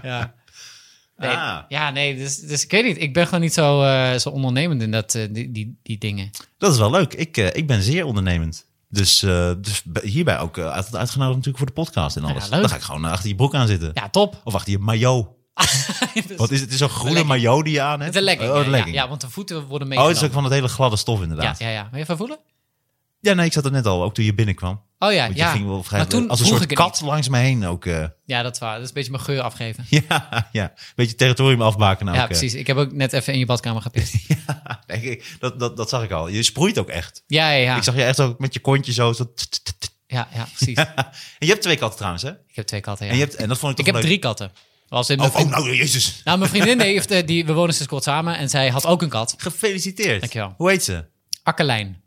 [SPEAKER 2] ja. Nee,
[SPEAKER 1] Ah.
[SPEAKER 2] Ja, nee, dus, dus ik weet niet. Ik ben gewoon niet zo, eh, zo ondernemend in dat, eh, die, die, die dingen.
[SPEAKER 1] Dat is wel leuk. Ik, eh, ik ben zeer ondernemend. Dus, eh, dus b- hierbij ook eh, altijd uitgenodigd natuurlijk voor de podcast en alles.
[SPEAKER 2] Ja, leuk.
[SPEAKER 1] Dan ga ik gewoon eh, achter je broek aan zitten.
[SPEAKER 2] Ja, top.
[SPEAKER 1] Of achter je maillot. Wat is het? Het is zo'n groene
[SPEAKER 2] legging.
[SPEAKER 1] maillot die je aan hebt.
[SPEAKER 2] Het is een legging.
[SPEAKER 1] Oh,
[SPEAKER 2] ja,
[SPEAKER 1] een legging.
[SPEAKER 2] Ja, ja, want de voeten worden
[SPEAKER 1] oh,
[SPEAKER 2] meegenomen.
[SPEAKER 1] het is ook van dat hele gladde stof
[SPEAKER 2] Ja,
[SPEAKER 1] inderdaad. Ja,
[SPEAKER 2] ja, ja. Wil je even voelen?
[SPEAKER 1] nee, ik zat er net al, ook toen je binnenkwam.
[SPEAKER 2] Oh ja,
[SPEAKER 1] Want
[SPEAKER 2] ja.
[SPEAKER 1] je ging wel vrij,
[SPEAKER 2] maar toen
[SPEAKER 1] als een
[SPEAKER 2] vroeg
[SPEAKER 1] soort
[SPEAKER 2] ik het
[SPEAKER 1] kat Ah, langs me heen ook. eh,
[SPEAKER 2] niet. Ja, dat is waar. Dat is een beetje mijn geur afgeven.
[SPEAKER 1] ja, ja, een beetje territorium afbaken. Nou
[SPEAKER 2] ja,
[SPEAKER 1] ook, eh.
[SPEAKER 2] precies. Ik heb ook net even in je badkamer gepist.
[SPEAKER 1] Nee, ik- dat, dat, dat zag ik al. Je sproeit ook echt.
[SPEAKER 2] ja, ja, ja.
[SPEAKER 1] Ik zag je echt ook met je kontje zo. zo t- t- t- t-
[SPEAKER 2] Ja, ja, precies.
[SPEAKER 1] en je hebt twee katten trouwens, hè?
[SPEAKER 2] Ik heb twee katten, ja.
[SPEAKER 1] En, je hebt, en dat vond ik
[SPEAKER 2] Ik
[SPEAKER 1] toch
[SPEAKER 2] heb
[SPEAKER 1] leuk.
[SPEAKER 2] drie katten. Was in mijn
[SPEAKER 1] Oh, oh,
[SPEAKER 2] vriend-
[SPEAKER 1] nou, jezus.
[SPEAKER 2] Nou, mijn vriendin heeft, eh, die, we wonen sinds kort samen en zij had ook een kat.
[SPEAKER 1] Gefeliciteerd.
[SPEAKER 2] Dankjewel.
[SPEAKER 1] Hoe heet ze?
[SPEAKER 2] Akkerlijn.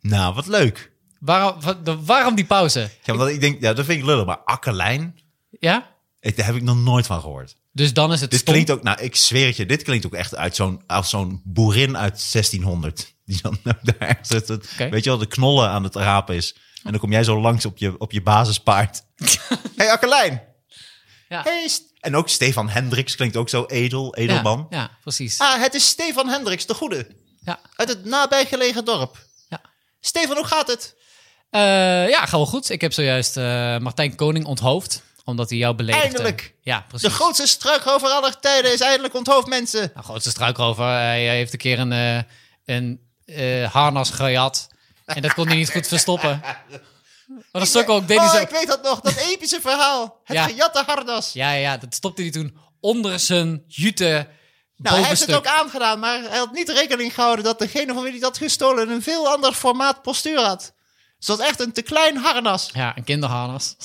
[SPEAKER 1] Nou, wat leuk.
[SPEAKER 2] Waarom, wa- de- waarom die pauze?
[SPEAKER 1] Ja, want ik denk, ja, dat vind ik lullig. Maar Akkerlijn,
[SPEAKER 2] Ja?
[SPEAKER 1] ik- daar heb ik nog nooit van gehoord.
[SPEAKER 2] Dus dan is het
[SPEAKER 1] Dit
[SPEAKER 2] stom.
[SPEAKER 1] klinkt ook, nou, ik zweer het je, dit klinkt ook echt uit zo'n, als zo'n boerin uit 1600. Die dan ook daar ergens zit. Dat-
[SPEAKER 2] Oké.
[SPEAKER 1] Weet je wel, de knollen aan het rapen is. En dan kom jij zo langs op je, op je basispaard. hey, Akkerlijn.
[SPEAKER 2] Ja.
[SPEAKER 1] Hey, St- en ook Stefan Hendricks klinkt ook zo edel,
[SPEAKER 2] ja,
[SPEAKER 1] edelman.
[SPEAKER 2] Ja, precies.
[SPEAKER 1] Ah, het is Stefan Hendricks, de goede.
[SPEAKER 2] Ja.
[SPEAKER 1] Uit het nabijgelegen dorp.
[SPEAKER 2] Ja.
[SPEAKER 1] Stefan, hoe gaat het?
[SPEAKER 2] Eh, ja, gaat wel goed. Ik heb zojuist eh, Martijn Koning onthoofd, omdat hij jou beledigde.
[SPEAKER 1] Eindelijk.
[SPEAKER 2] Ja, precies.
[SPEAKER 1] struikrover aller tijden is eindelijk onthoofd mensen.
[SPEAKER 2] Nou, grootste struikrover. Hij hij heeft een keer een, eh, een eh, harnas gejat. En dat kon hij niet goed verstoppen. Maar dat stuk ook deed hij zo.
[SPEAKER 1] Oh, weet dat nog, dat epische verhaal. Het
[SPEAKER 2] Ja.
[SPEAKER 1] gejatte hardas.
[SPEAKER 2] Ja, ja, ja, dat stopte hij toen onder zijn
[SPEAKER 1] Nou,
[SPEAKER 2] jute bovenstuk.
[SPEAKER 1] aangedaan, maar hij had niet rekening gehouden dat degene van wie hij dat gestolen een veel ander formaat postuur had. Dus dat echt een te klein harnas.
[SPEAKER 2] Ja, een kinderharnas.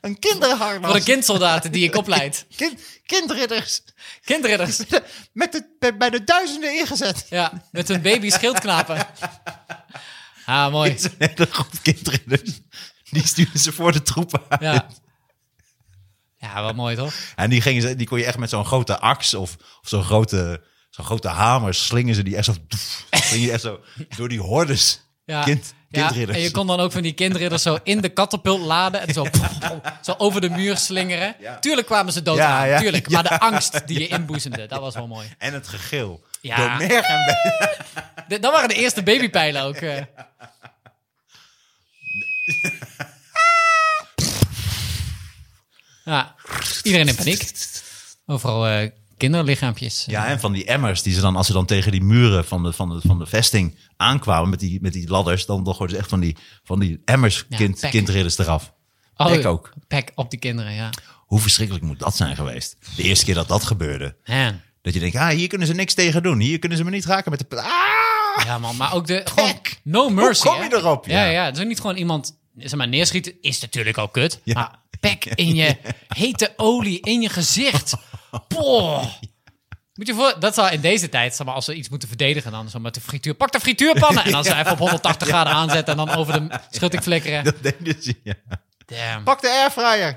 [SPEAKER 1] een kinderharnas.
[SPEAKER 2] Voor de kindsoldaten die ik opleid.
[SPEAKER 1] kindridders.
[SPEAKER 2] Kindridders.
[SPEAKER 1] Met de, bij de duizenden ingezet.
[SPEAKER 2] Ja, met een baby schildknapen. Ah, mooi.
[SPEAKER 1] Dit is een hele groep kindridders. Die sturen ze voor de troepen uit.
[SPEAKER 2] Ja. Ja, wel mooi toch?
[SPEAKER 1] En die, gingen ze, die kon je echt met zo'n grote aks of, of zo'n grote, zo'n grote hamer slingen ze die echt zo, doef, slingen die echt zo door die hordes.
[SPEAKER 2] Ja.
[SPEAKER 1] Kind,
[SPEAKER 2] Ja,
[SPEAKER 1] kindridders.
[SPEAKER 2] en je kon dan ook van die kindridders zo in de katapult laden en zo, zo over de muur slingeren. Tuurlijk kwamen ze dood
[SPEAKER 1] Ja,
[SPEAKER 2] aan,
[SPEAKER 1] ja.
[SPEAKER 2] tuurlijk. Maar de angst die je inboezemde, dat was wel mooi.
[SPEAKER 1] En het gegil.
[SPEAKER 2] Ja.
[SPEAKER 1] Door merg en been.
[SPEAKER 2] De- dat waren de eerste babypijlen ook. eh. Ja, iedereen in paniek. Overal eh, kinderlichaampjes.
[SPEAKER 1] Ja, en van die emmers die ze dan, als ze dan tegen die muren van de, van de, van de vesting aankwamen met die, met die ladders, dan, dan gooiden ze echt van die, van die emmers
[SPEAKER 2] Ja,
[SPEAKER 1] kind,
[SPEAKER 2] pek.
[SPEAKER 1] kindridders eraf. Pek ook.
[SPEAKER 2] Oh, Pek op die kinderen, ja.
[SPEAKER 1] Hoe verschrikkelijk moet dat zijn geweest? De eerste keer dat dat gebeurde.
[SPEAKER 2] Man.
[SPEAKER 1] Dat je denkt, ah, hier kunnen ze niks tegen doen. Hier kunnen ze me niet raken met de... Ah!
[SPEAKER 2] Ja, man. Maar ook de... Gewoon,
[SPEAKER 1] Pek.
[SPEAKER 2] no mercy,
[SPEAKER 1] Hoe kom je
[SPEAKER 2] hè?
[SPEAKER 1] erop?
[SPEAKER 2] Ja, ja. Het is ook niet gewoon iemand... Zeg maar, neerschieten is natuurlijk ook kut.
[SPEAKER 1] Ja.
[SPEAKER 2] Maar pek in je hete olie, in je gezicht. Poh. Moet je voor, dat zal in deze tijd, zeg maar, als ze iets moeten verdedigen, dan zo met de frituur. Pak de frituurpannen! En dan ze even op 180 graden aanzetten en dan over de schutting flikkeren.
[SPEAKER 1] Dat deden ze, ja.
[SPEAKER 2] Damn.
[SPEAKER 3] Pak de airfryer.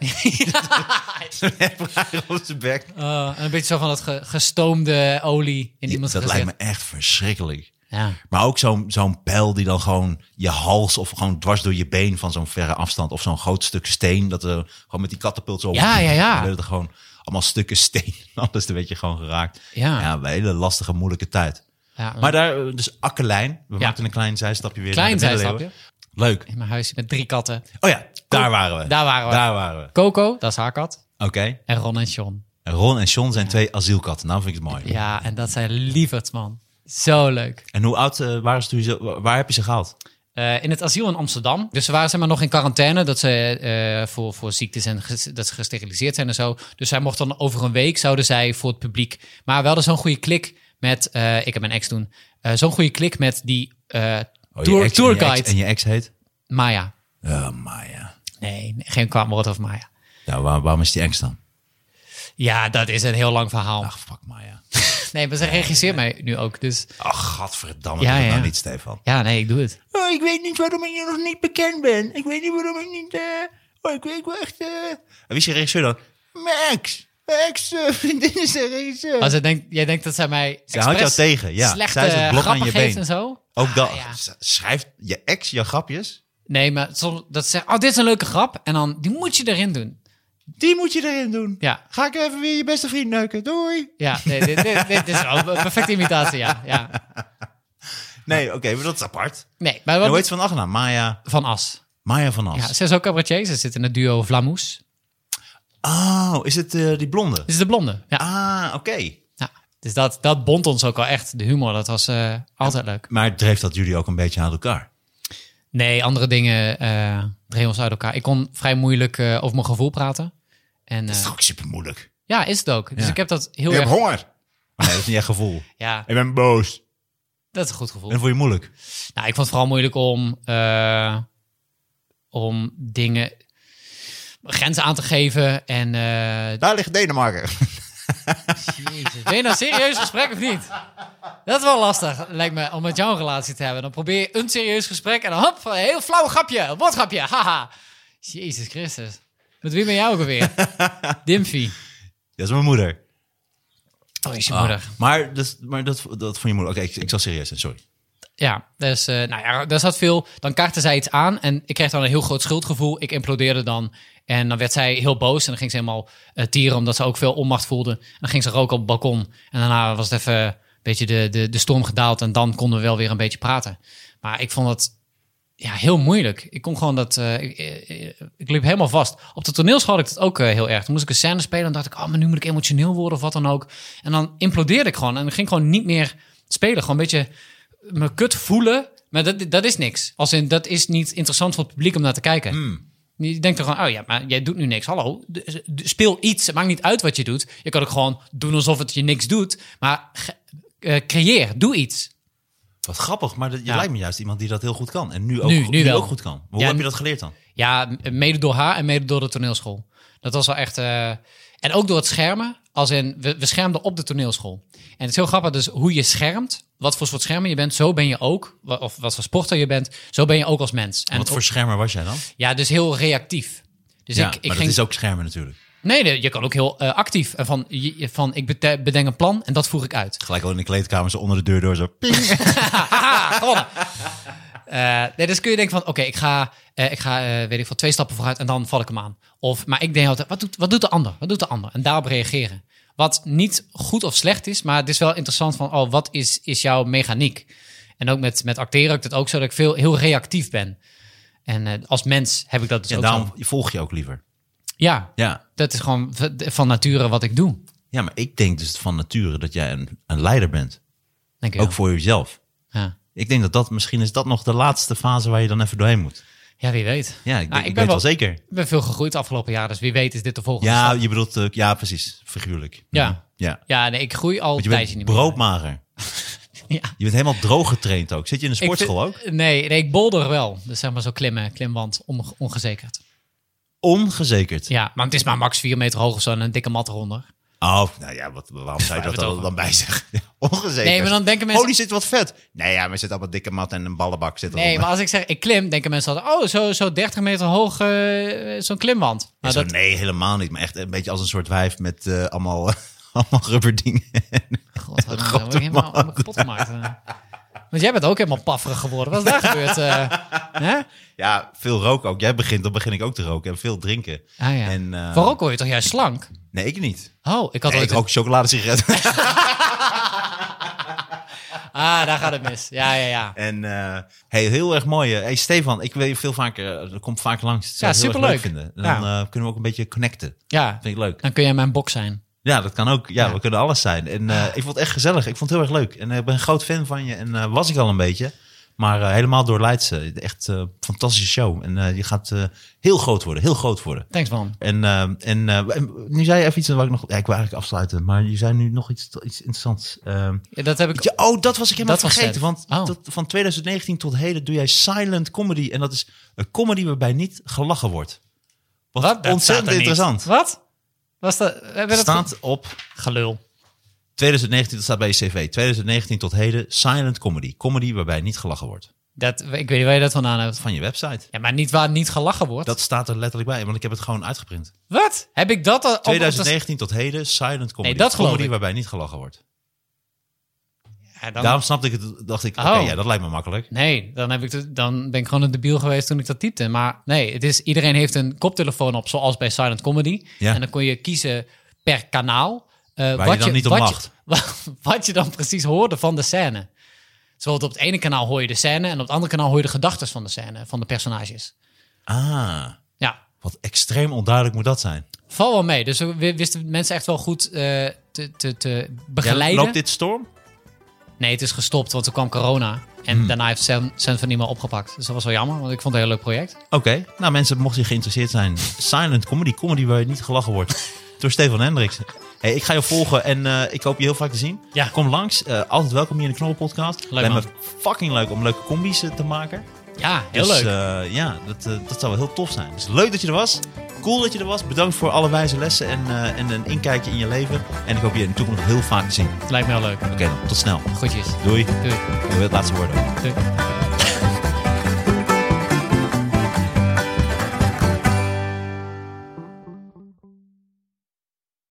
[SPEAKER 1] Vraag op zijn bek.
[SPEAKER 2] Eh, en een beetje zo van dat ge- gestoomde olie in iemands
[SPEAKER 1] dat
[SPEAKER 2] gezicht.
[SPEAKER 1] lijkt me echt verschrikkelijk.
[SPEAKER 2] Ja.
[SPEAKER 1] Maar ook zo'n zo'n pijl die dan gewoon je hals of gewoon dwars door je been van zo'n verre afstand. Of zo'n groot stuk steen. Dat er gewoon met die katapult zo.
[SPEAKER 2] Ja, ja, ja.
[SPEAKER 1] Dan werden er gewoon allemaal stukken steen. Anders werd je gewoon geraakt.
[SPEAKER 2] Ja.
[SPEAKER 1] ja een hele lastige, moeilijke tijd.
[SPEAKER 2] Ja,
[SPEAKER 1] Maar daar, eh, dus Akkerlijn. We
[SPEAKER 2] Ja.
[SPEAKER 1] maakten een klein zijstapje weer.
[SPEAKER 2] Klein
[SPEAKER 1] naar de middeleeuwen.
[SPEAKER 2] zijstapje.
[SPEAKER 1] Leuk.
[SPEAKER 2] In mijn huisje met drie katten.
[SPEAKER 1] Oh ja, daar waren we.
[SPEAKER 2] Daar waren we.
[SPEAKER 1] Daar waren we.
[SPEAKER 2] Coco, dat is haar kat.
[SPEAKER 1] Oké.
[SPEAKER 2] En Ron en John.
[SPEAKER 1] Ron en Sean zijn twee asielkatten. Nou vind ik het mooi.
[SPEAKER 2] Ja, en dat zijn lieverds, man. Zo leuk.
[SPEAKER 1] En hoe oud eh, waren ze toen? je ze- wa- Waar heb je ze gehaald?
[SPEAKER 2] Eh, in het asiel in Amsterdam. Dus ze waren zeg maar, nog in quarantaine. Dat ze eh, voor, voor ziektes en ges- dat ze gesteriliseerd zijn en zo. Dus zij mochten dan over een week zouden zij voor het publiek. Maar we hadden zo'n goede klik met. eh, ik heb mijn ex toen. eh, zo'n goede klik met die eh
[SPEAKER 1] Oh, je ex- en
[SPEAKER 2] tour,
[SPEAKER 1] je ex-
[SPEAKER 2] tourguide.
[SPEAKER 1] En je ex heet?
[SPEAKER 2] Maya.
[SPEAKER 1] Ja, Eh, Maya.
[SPEAKER 2] Nee, geen kwaad woord over Maya.
[SPEAKER 1] Ja, waar- waarom is die ex dan?
[SPEAKER 2] Ja, dat is een heel lang verhaal.
[SPEAKER 1] Ach, fuck Maya.
[SPEAKER 2] Nee, maar ze regisseert mij nu ook. Dus
[SPEAKER 1] Ach, gadverdamme.
[SPEAKER 2] Ja,
[SPEAKER 1] doe dat
[SPEAKER 2] ja.
[SPEAKER 1] nou niet, Stefan.
[SPEAKER 2] ja, nee, ik doe het.
[SPEAKER 1] Oh, ik weet niet waarom ik nog niet bekend ben. Ik weet niet waarom ik niet... oh, ik weet wel echt... En wie is je regisseur dan? Mijn ex. Mijn ex eh, vriendin is de regisseur.
[SPEAKER 2] Als ze denkt, jij denkt dat zij mij.
[SPEAKER 1] Ze houdt
[SPEAKER 2] expres
[SPEAKER 1] jou tegen, ja.
[SPEAKER 2] Slechte
[SPEAKER 1] Zij is het blok aan
[SPEAKER 2] grappen
[SPEAKER 1] je
[SPEAKER 2] geeft
[SPEAKER 1] been.
[SPEAKER 2] en zo.
[SPEAKER 1] Ook dat.
[SPEAKER 2] Ah, ja.
[SPEAKER 1] S- Schrijft je ex je grapjes?
[SPEAKER 2] Nee, maar soms dat ze zegt, oh, dit is een leuke grap. En dan, die moet je erin doen.
[SPEAKER 1] Die moet je erin doen.
[SPEAKER 2] Ja,
[SPEAKER 1] Ga ik even weer je beste vriend neuken. Doei.
[SPEAKER 2] ja nee, dit, dit, dit is wel een perfecte imitatie, ja. ja.
[SPEAKER 1] Nee, oké, maar dat is apart.
[SPEAKER 2] Nee, maar
[SPEAKER 1] En hoe
[SPEAKER 2] wat
[SPEAKER 1] heet ze van achternaam? Maya,
[SPEAKER 2] van As.
[SPEAKER 1] Maya van
[SPEAKER 2] Ja,
[SPEAKER 1] As.
[SPEAKER 2] ze is ook cabaretier. Ze zit in het duo Vlamoes.
[SPEAKER 1] Oh, is het eh, die blonde?
[SPEAKER 2] Dit is de blonde. Ja,
[SPEAKER 1] Ah, oké.
[SPEAKER 2] ja. Dus dat, dat bond ons ook al echt. De humor, dat was eh, altijd leuk.
[SPEAKER 1] Maar dreef dat jullie ook een beetje aan elkaar?
[SPEAKER 2] Nee, andere dingen eh dreven ons uit elkaar. Ik kon vrij moeilijk eh, over mijn gevoel praten. En,
[SPEAKER 1] Dat is
[SPEAKER 2] eh,
[SPEAKER 1] toch ook super moeilijk?
[SPEAKER 2] ja, is het ook. Dus
[SPEAKER 1] Ja.
[SPEAKER 2] ik heb dat heel
[SPEAKER 3] Ik heb
[SPEAKER 2] erg...
[SPEAKER 3] honger.
[SPEAKER 1] Nee, dat is niet echt gevoel.
[SPEAKER 2] Ja,
[SPEAKER 1] Ik ben boos. En
[SPEAKER 2] dat is een goed gevoel.
[SPEAKER 1] dat vond je moeilijk?
[SPEAKER 2] Nou, ik vond het vooral moeilijk om, eh, om dingen, grenzen aan te geven. En, eh,
[SPEAKER 3] Daar ligt Denemarken.
[SPEAKER 2] jezus, ben je nou een serieus gesprek of niet? Dat is wel lastig, lijkt me, om met jou een relatie te hebben. Dan probeer je een serieus gesprek en dan hop, een heel flauw grapje, een woordgrapje, haha. Jezus Christus. Met wie ben jij ook alweer? Dimfy.
[SPEAKER 1] Dat is mijn moeder.
[SPEAKER 2] Oh, is je
[SPEAKER 1] Ah,
[SPEAKER 2] moeder.
[SPEAKER 1] maar dat, maar dat, dat vond je moeilijk. Oké, ik, ik zal serieus zijn, sorry.
[SPEAKER 2] Ja, dus eh, nou ja, daar zat veel. Dan kaartte zij iets aan en ik kreeg dan een heel groot schuldgevoel. Ik implodeerde dan. En dan werd zij heel boos en dan ging ze helemaal eh, tieren omdat ze ook veel onmacht voelde. En dan ging ze roken op het balkon. En daarna was het even een beetje de, de, de storm gedaald en dan konden we wel weer een beetje praten. Maar ik vond dat ja, heel moeilijk. Ik kon gewoon dat. eh, ik, eh, ik liep helemaal vast. Op de toneelschool had ik dat ook eh, heel erg. Toen moest ik een scène spelen en dacht ik, oh, maar nu moet ik emotioneel worden of wat dan ook. En dan implodeerde ik gewoon en ik ging gewoon niet meer spelen. Gewoon een beetje me kut voelen. Maar dat, dat is niks. Als in, dat is niet interessant voor het publiek om naar te kijken. Je denkt er gewoon, oh ja, maar jij doet nu niks. Hallo, d- d- speel iets. Het maakt niet uit wat je doet. Je kan ook gewoon doen alsof het je niks doet. Maar ge- eh, creëer, doe iets.
[SPEAKER 1] Wat grappig, maar dat, je
[SPEAKER 2] Ja.
[SPEAKER 1] lijkt me juist iemand die dat heel goed kan. En nu ook,
[SPEAKER 2] Nu-
[SPEAKER 1] goed-
[SPEAKER 2] nu wel.
[SPEAKER 1] ook goed kan. Hoe
[SPEAKER 2] Ja,
[SPEAKER 1] heb je
[SPEAKER 2] en-
[SPEAKER 1] dat geleerd dan?
[SPEAKER 2] Ja, m- mede door haar en mede door de toneelschool. Dat was wel echt. eh, en ook door het schermen. Als in, we, we schermden op de toneelschool. En het is heel grappig, dus hoe je schermt, wat voor soort schermer je bent, zo ben je ook. wa- Of wat voor sporter je bent, zo ben je ook als mens. En
[SPEAKER 1] Wat voor schermer was jij dan?
[SPEAKER 2] Ja, dus heel reactief. Dus
[SPEAKER 1] ja,
[SPEAKER 2] ik, ik
[SPEAKER 1] maar
[SPEAKER 2] ging.
[SPEAKER 1] dat is ook schermer natuurlijk.
[SPEAKER 2] nee, nee, je kan ook heel eh, actief. En van, je- je- van ik bete- bedenk een plan en dat voer ik uit.
[SPEAKER 1] Gelijk al in de kleedkamer, zo onder de deur door, zo ping.
[SPEAKER 2] Haha, Ah, gewonnen. Eh, nee, dus kun je denken van, oké, ik ga, eh, ik ga eh, weet ik veel, twee stappen vooruit en dan val ik hem aan. Of, maar ik denk altijd, wat doet, wat doet de ander? Wat doet de ander? En daarop reageren. Wat niet goed of slecht is, maar het is wel interessant van, oh, wat is, is jouw mechaniek? En ook met, met acteren heb ik dat ook zo, dat ik veel, heel reactief ben. En eh, als mens heb ik dat dus
[SPEAKER 1] En
[SPEAKER 2] ook
[SPEAKER 1] daarom
[SPEAKER 2] zo.
[SPEAKER 1] volg je ook liever.
[SPEAKER 2] Ja,
[SPEAKER 1] Ja,
[SPEAKER 2] dat is gewoon v- van nature wat ik doe.
[SPEAKER 1] Ja, maar ik denk dus van nature dat jij een, een leider bent.
[SPEAKER 2] Denk ik
[SPEAKER 1] Ook
[SPEAKER 2] wel.
[SPEAKER 1] voor jezelf.
[SPEAKER 2] ja.
[SPEAKER 1] Ik denk dat dat misschien is dat nog de laatste fase waar je dan even doorheen moet.
[SPEAKER 2] ja, wie weet.
[SPEAKER 1] Ja, ik,
[SPEAKER 2] Nou,
[SPEAKER 1] denk, ik weet wel zeker.
[SPEAKER 2] Ik ben veel gegroeid de afgelopen jaar, dus wie weet is dit de volgende
[SPEAKER 1] Ja,
[SPEAKER 2] stap.
[SPEAKER 1] je bedoelt, eh, ja, precies. Figuurlijk. Mhm.
[SPEAKER 2] Ja.
[SPEAKER 1] Ja.
[SPEAKER 2] Ja, nee, ik groei al
[SPEAKER 1] Want je
[SPEAKER 2] een tijdje
[SPEAKER 1] bent
[SPEAKER 2] niet meer.
[SPEAKER 1] broodmager.
[SPEAKER 2] Ja.
[SPEAKER 1] Je bent helemaal droog getraind ook. Zit je in de
[SPEAKER 2] Ik
[SPEAKER 1] sportschool ook?
[SPEAKER 2] vind- Nee, nee, ik bolder wel. Dus zeg maar zo klimmen, klimwand, onge- ongezekerd.
[SPEAKER 1] Ongezekerd.
[SPEAKER 2] Ja, maar het is maar max 4 meter hoog of zo en een dikke mat eronder.
[SPEAKER 1] Oh, nou ja, wat, waarom zou je dat
[SPEAKER 2] Waar hebben we het
[SPEAKER 1] dan,
[SPEAKER 2] over?
[SPEAKER 1] dan bij zeggen? Ongezeker.
[SPEAKER 2] Nee, maar dan denken mensen-
[SPEAKER 1] Holy, zit wat vet. Nee, ja, maar er zit allemaal dikke mat en een ballenbak zit
[SPEAKER 2] Nee, maar als ik zeg ik klim, denken mensen altijd, oh, zo, zo 30 meter hoog, eh, zo'n klimwand. Maar dat,
[SPEAKER 1] Nee, helemaal niet. Maar echt een beetje als een soort wijf met eh, allemaal, allemaal rubberdingen.
[SPEAKER 2] God, wat dan word ik helemaal allemaal kapot gemaakt. eh. Want jij bent ook helemaal pafferig geworden. Wat is daar gebeurd? eh? hè?
[SPEAKER 1] ja, veel roken ook. Jij begint, dan begin ik ook te roken. En veel drinken.
[SPEAKER 2] Ah, ja.
[SPEAKER 1] En, eh,
[SPEAKER 2] Voor ook word je toch juist slank?
[SPEAKER 1] Nee, ik niet.
[SPEAKER 2] Oh, ik had
[SPEAKER 1] Nee,
[SPEAKER 2] ooit...
[SPEAKER 1] ik rook chocoladesigaretten.
[SPEAKER 2] Ah, daar gaat het mis. Ja, ja, ja.
[SPEAKER 1] En eh, hey, heel erg mooi. eh. Hey, Stefan, ik wil je veel vaker, eh, kom vaak langs. Dat zou
[SPEAKER 2] Ja,
[SPEAKER 1] ik heel erg
[SPEAKER 2] superleuk.
[SPEAKER 1] leuk vinden. En Dan eh, kunnen we ook een beetje connecten.
[SPEAKER 2] Ja,
[SPEAKER 1] Vind ik leuk.
[SPEAKER 2] dan kun jij mijn bok zijn.
[SPEAKER 1] Ja, dat kan ook. Ja,
[SPEAKER 2] Ja. Ah.
[SPEAKER 1] we kunnen alles zijn. En eh, ik vond het echt gezellig. Ik vond het heel erg leuk. En eh, ik ben een groot fan van je. En eh, was ik al een beetje. Maar eh, helemaal door Leidse. Echt eh, fantastische show. En eh, je gaat eh, heel groot worden. Heel groot worden.
[SPEAKER 2] Thanks, man.
[SPEAKER 1] En, eh, en eh, en nu zei je even iets wat ik nog... Ja, ik wil eigenlijk afsluiten. Maar je zei nu nog iets, iets interessants. Ehm,
[SPEAKER 2] Ja, dat heb ik...
[SPEAKER 1] ja, oh, dat was ik helemaal
[SPEAKER 2] Dat was
[SPEAKER 1] vergeten.
[SPEAKER 2] het.
[SPEAKER 1] Want
[SPEAKER 2] Oh.
[SPEAKER 1] tot- van 2019 tot heden doe jij silent comedy. En dat is een comedy waarbij niet gelachen wordt. Wat,
[SPEAKER 2] Wat? Dat staat er
[SPEAKER 1] ontzettend
[SPEAKER 2] niet.
[SPEAKER 1] interessant.
[SPEAKER 2] Wat? Was dat... Hebben we dat
[SPEAKER 1] staat op
[SPEAKER 2] Gelul.
[SPEAKER 1] 2019, dat staat bij je cv. 2019 tot heden silent comedy. Comedy waarbij niet gelachen wordt.
[SPEAKER 2] Dat, ik weet niet waar je dat vandaan hebt.
[SPEAKER 1] Van je website.
[SPEAKER 2] Ja, maar niet waar niet gelachen wordt.
[SPEAKER 1] Dat staat er letterlijk bij, want ik heb het gewoon
[SPEAKER 2] Oh,
[SPEAKER 1] uitgeprint.
[SPEAKER 2] Wat? Heb ik dat al... op- op de-
[SPEAKER 1] 2019 tot heden silent comedy.
[SPEAKER 2] Nee, dat geloof
[SPEAKER 1] comedy
[SPEAKER 2] ik.
[SPEAKER 1] waarbij niet gelachen wordt.
[SPEAKER 2] Ja, dan-
[SPEAKER 1] Daarom snapte ik het, dacht ik, oké,
[SPEAKER 2] Oh.
[SPEAKER 1] ja, dat lijkt me makkelijk.
[SPEAKER 2] Nee, dan, heb ik de- dan ben ik gewoon een debiel geweest toen ik dat typte. Maar nee, het is, iedereen heeft een koptelefoon op, zoals bij Silent Comedy.
[SPEAKER 1] Ja.
[SPEAKER 2] En dan kon je kiezen per kanaal. eh,
[SPEAKER 1] je dan niet om
[SPEAKER 2] wat
[SPEAKER 1] lacht.
[SPEAKER 2] Je, wat je dan precies hoorde van de scène. Zoals op het ene kanaal hoor je de scène... en op het andere kanaal hoor je de gedachten van de scène, van de personages.
[SPEAKER 1] Ah,
[SPEAKER 2] Ja,
[SPEAKER 1] wat extreem onduidelijk moet dat zijn.
[SPEAKER 2] val wel mee. Dus we we wisten mensen echt wel goed eh, te, te, te begeleiden.
[SPEAKER 1] Loopt dit storm?
[SPEAKER 2] Nee, het is gestopt, want toen kwam corona. En
[SPEAKER 1] Hmm.
[SPEAKER 2] daarna heeft Sam, Sam van Niemand opgepakt. Dus dat was wel jammer, want ik vond het een heel leuk project.
[SPEAKER 1] Oké, nou mensen, mocht je geïnteresseerd zijn, silent comedy, comedy waar je niet gelachen wordt, door Stefan Hendricks. Hey, ik ga je volgen en eh, ik hoop je heel vaak te zien.
[SPEAKER 2] Ja.
[SPEAKER 1] Kom langs, eh, altijd welkom hier in de Knorrelpodcast.
[SPEAKER 2] Leuk,
[SPEAKER 1] Lijkt me
[SPEAKER 2] man.
[SPEAKER 1] fucking leuk om leuke combi's eh, te maken.
[SPEAKER 2] Ja, heel
[SPEAKER 1] Dus,
[SPEAKER 2] leuk.
[SPEAKER 1] eh, ja, dat, eh, dat zou wel heel tof zijn. Dus leuk dat je er was, cool dat je er was. Bedankt voor alle wijze lessen en, eh, en een inkijkje in je leven. En ik hoop je in de toekomst heel vaak te zien. Oké
[SPEAKER 2] Lijkt me heel leuk.
[SPEAKER 1] dan, tot snel.
[SPEAKER 2] Goedjes.
[SPEAKER 1] Doei.
[SPEAKER 2] Doei.
[SPEAKER 1] Ik wil het laatste woord.
[SPEAKER 2] Doei.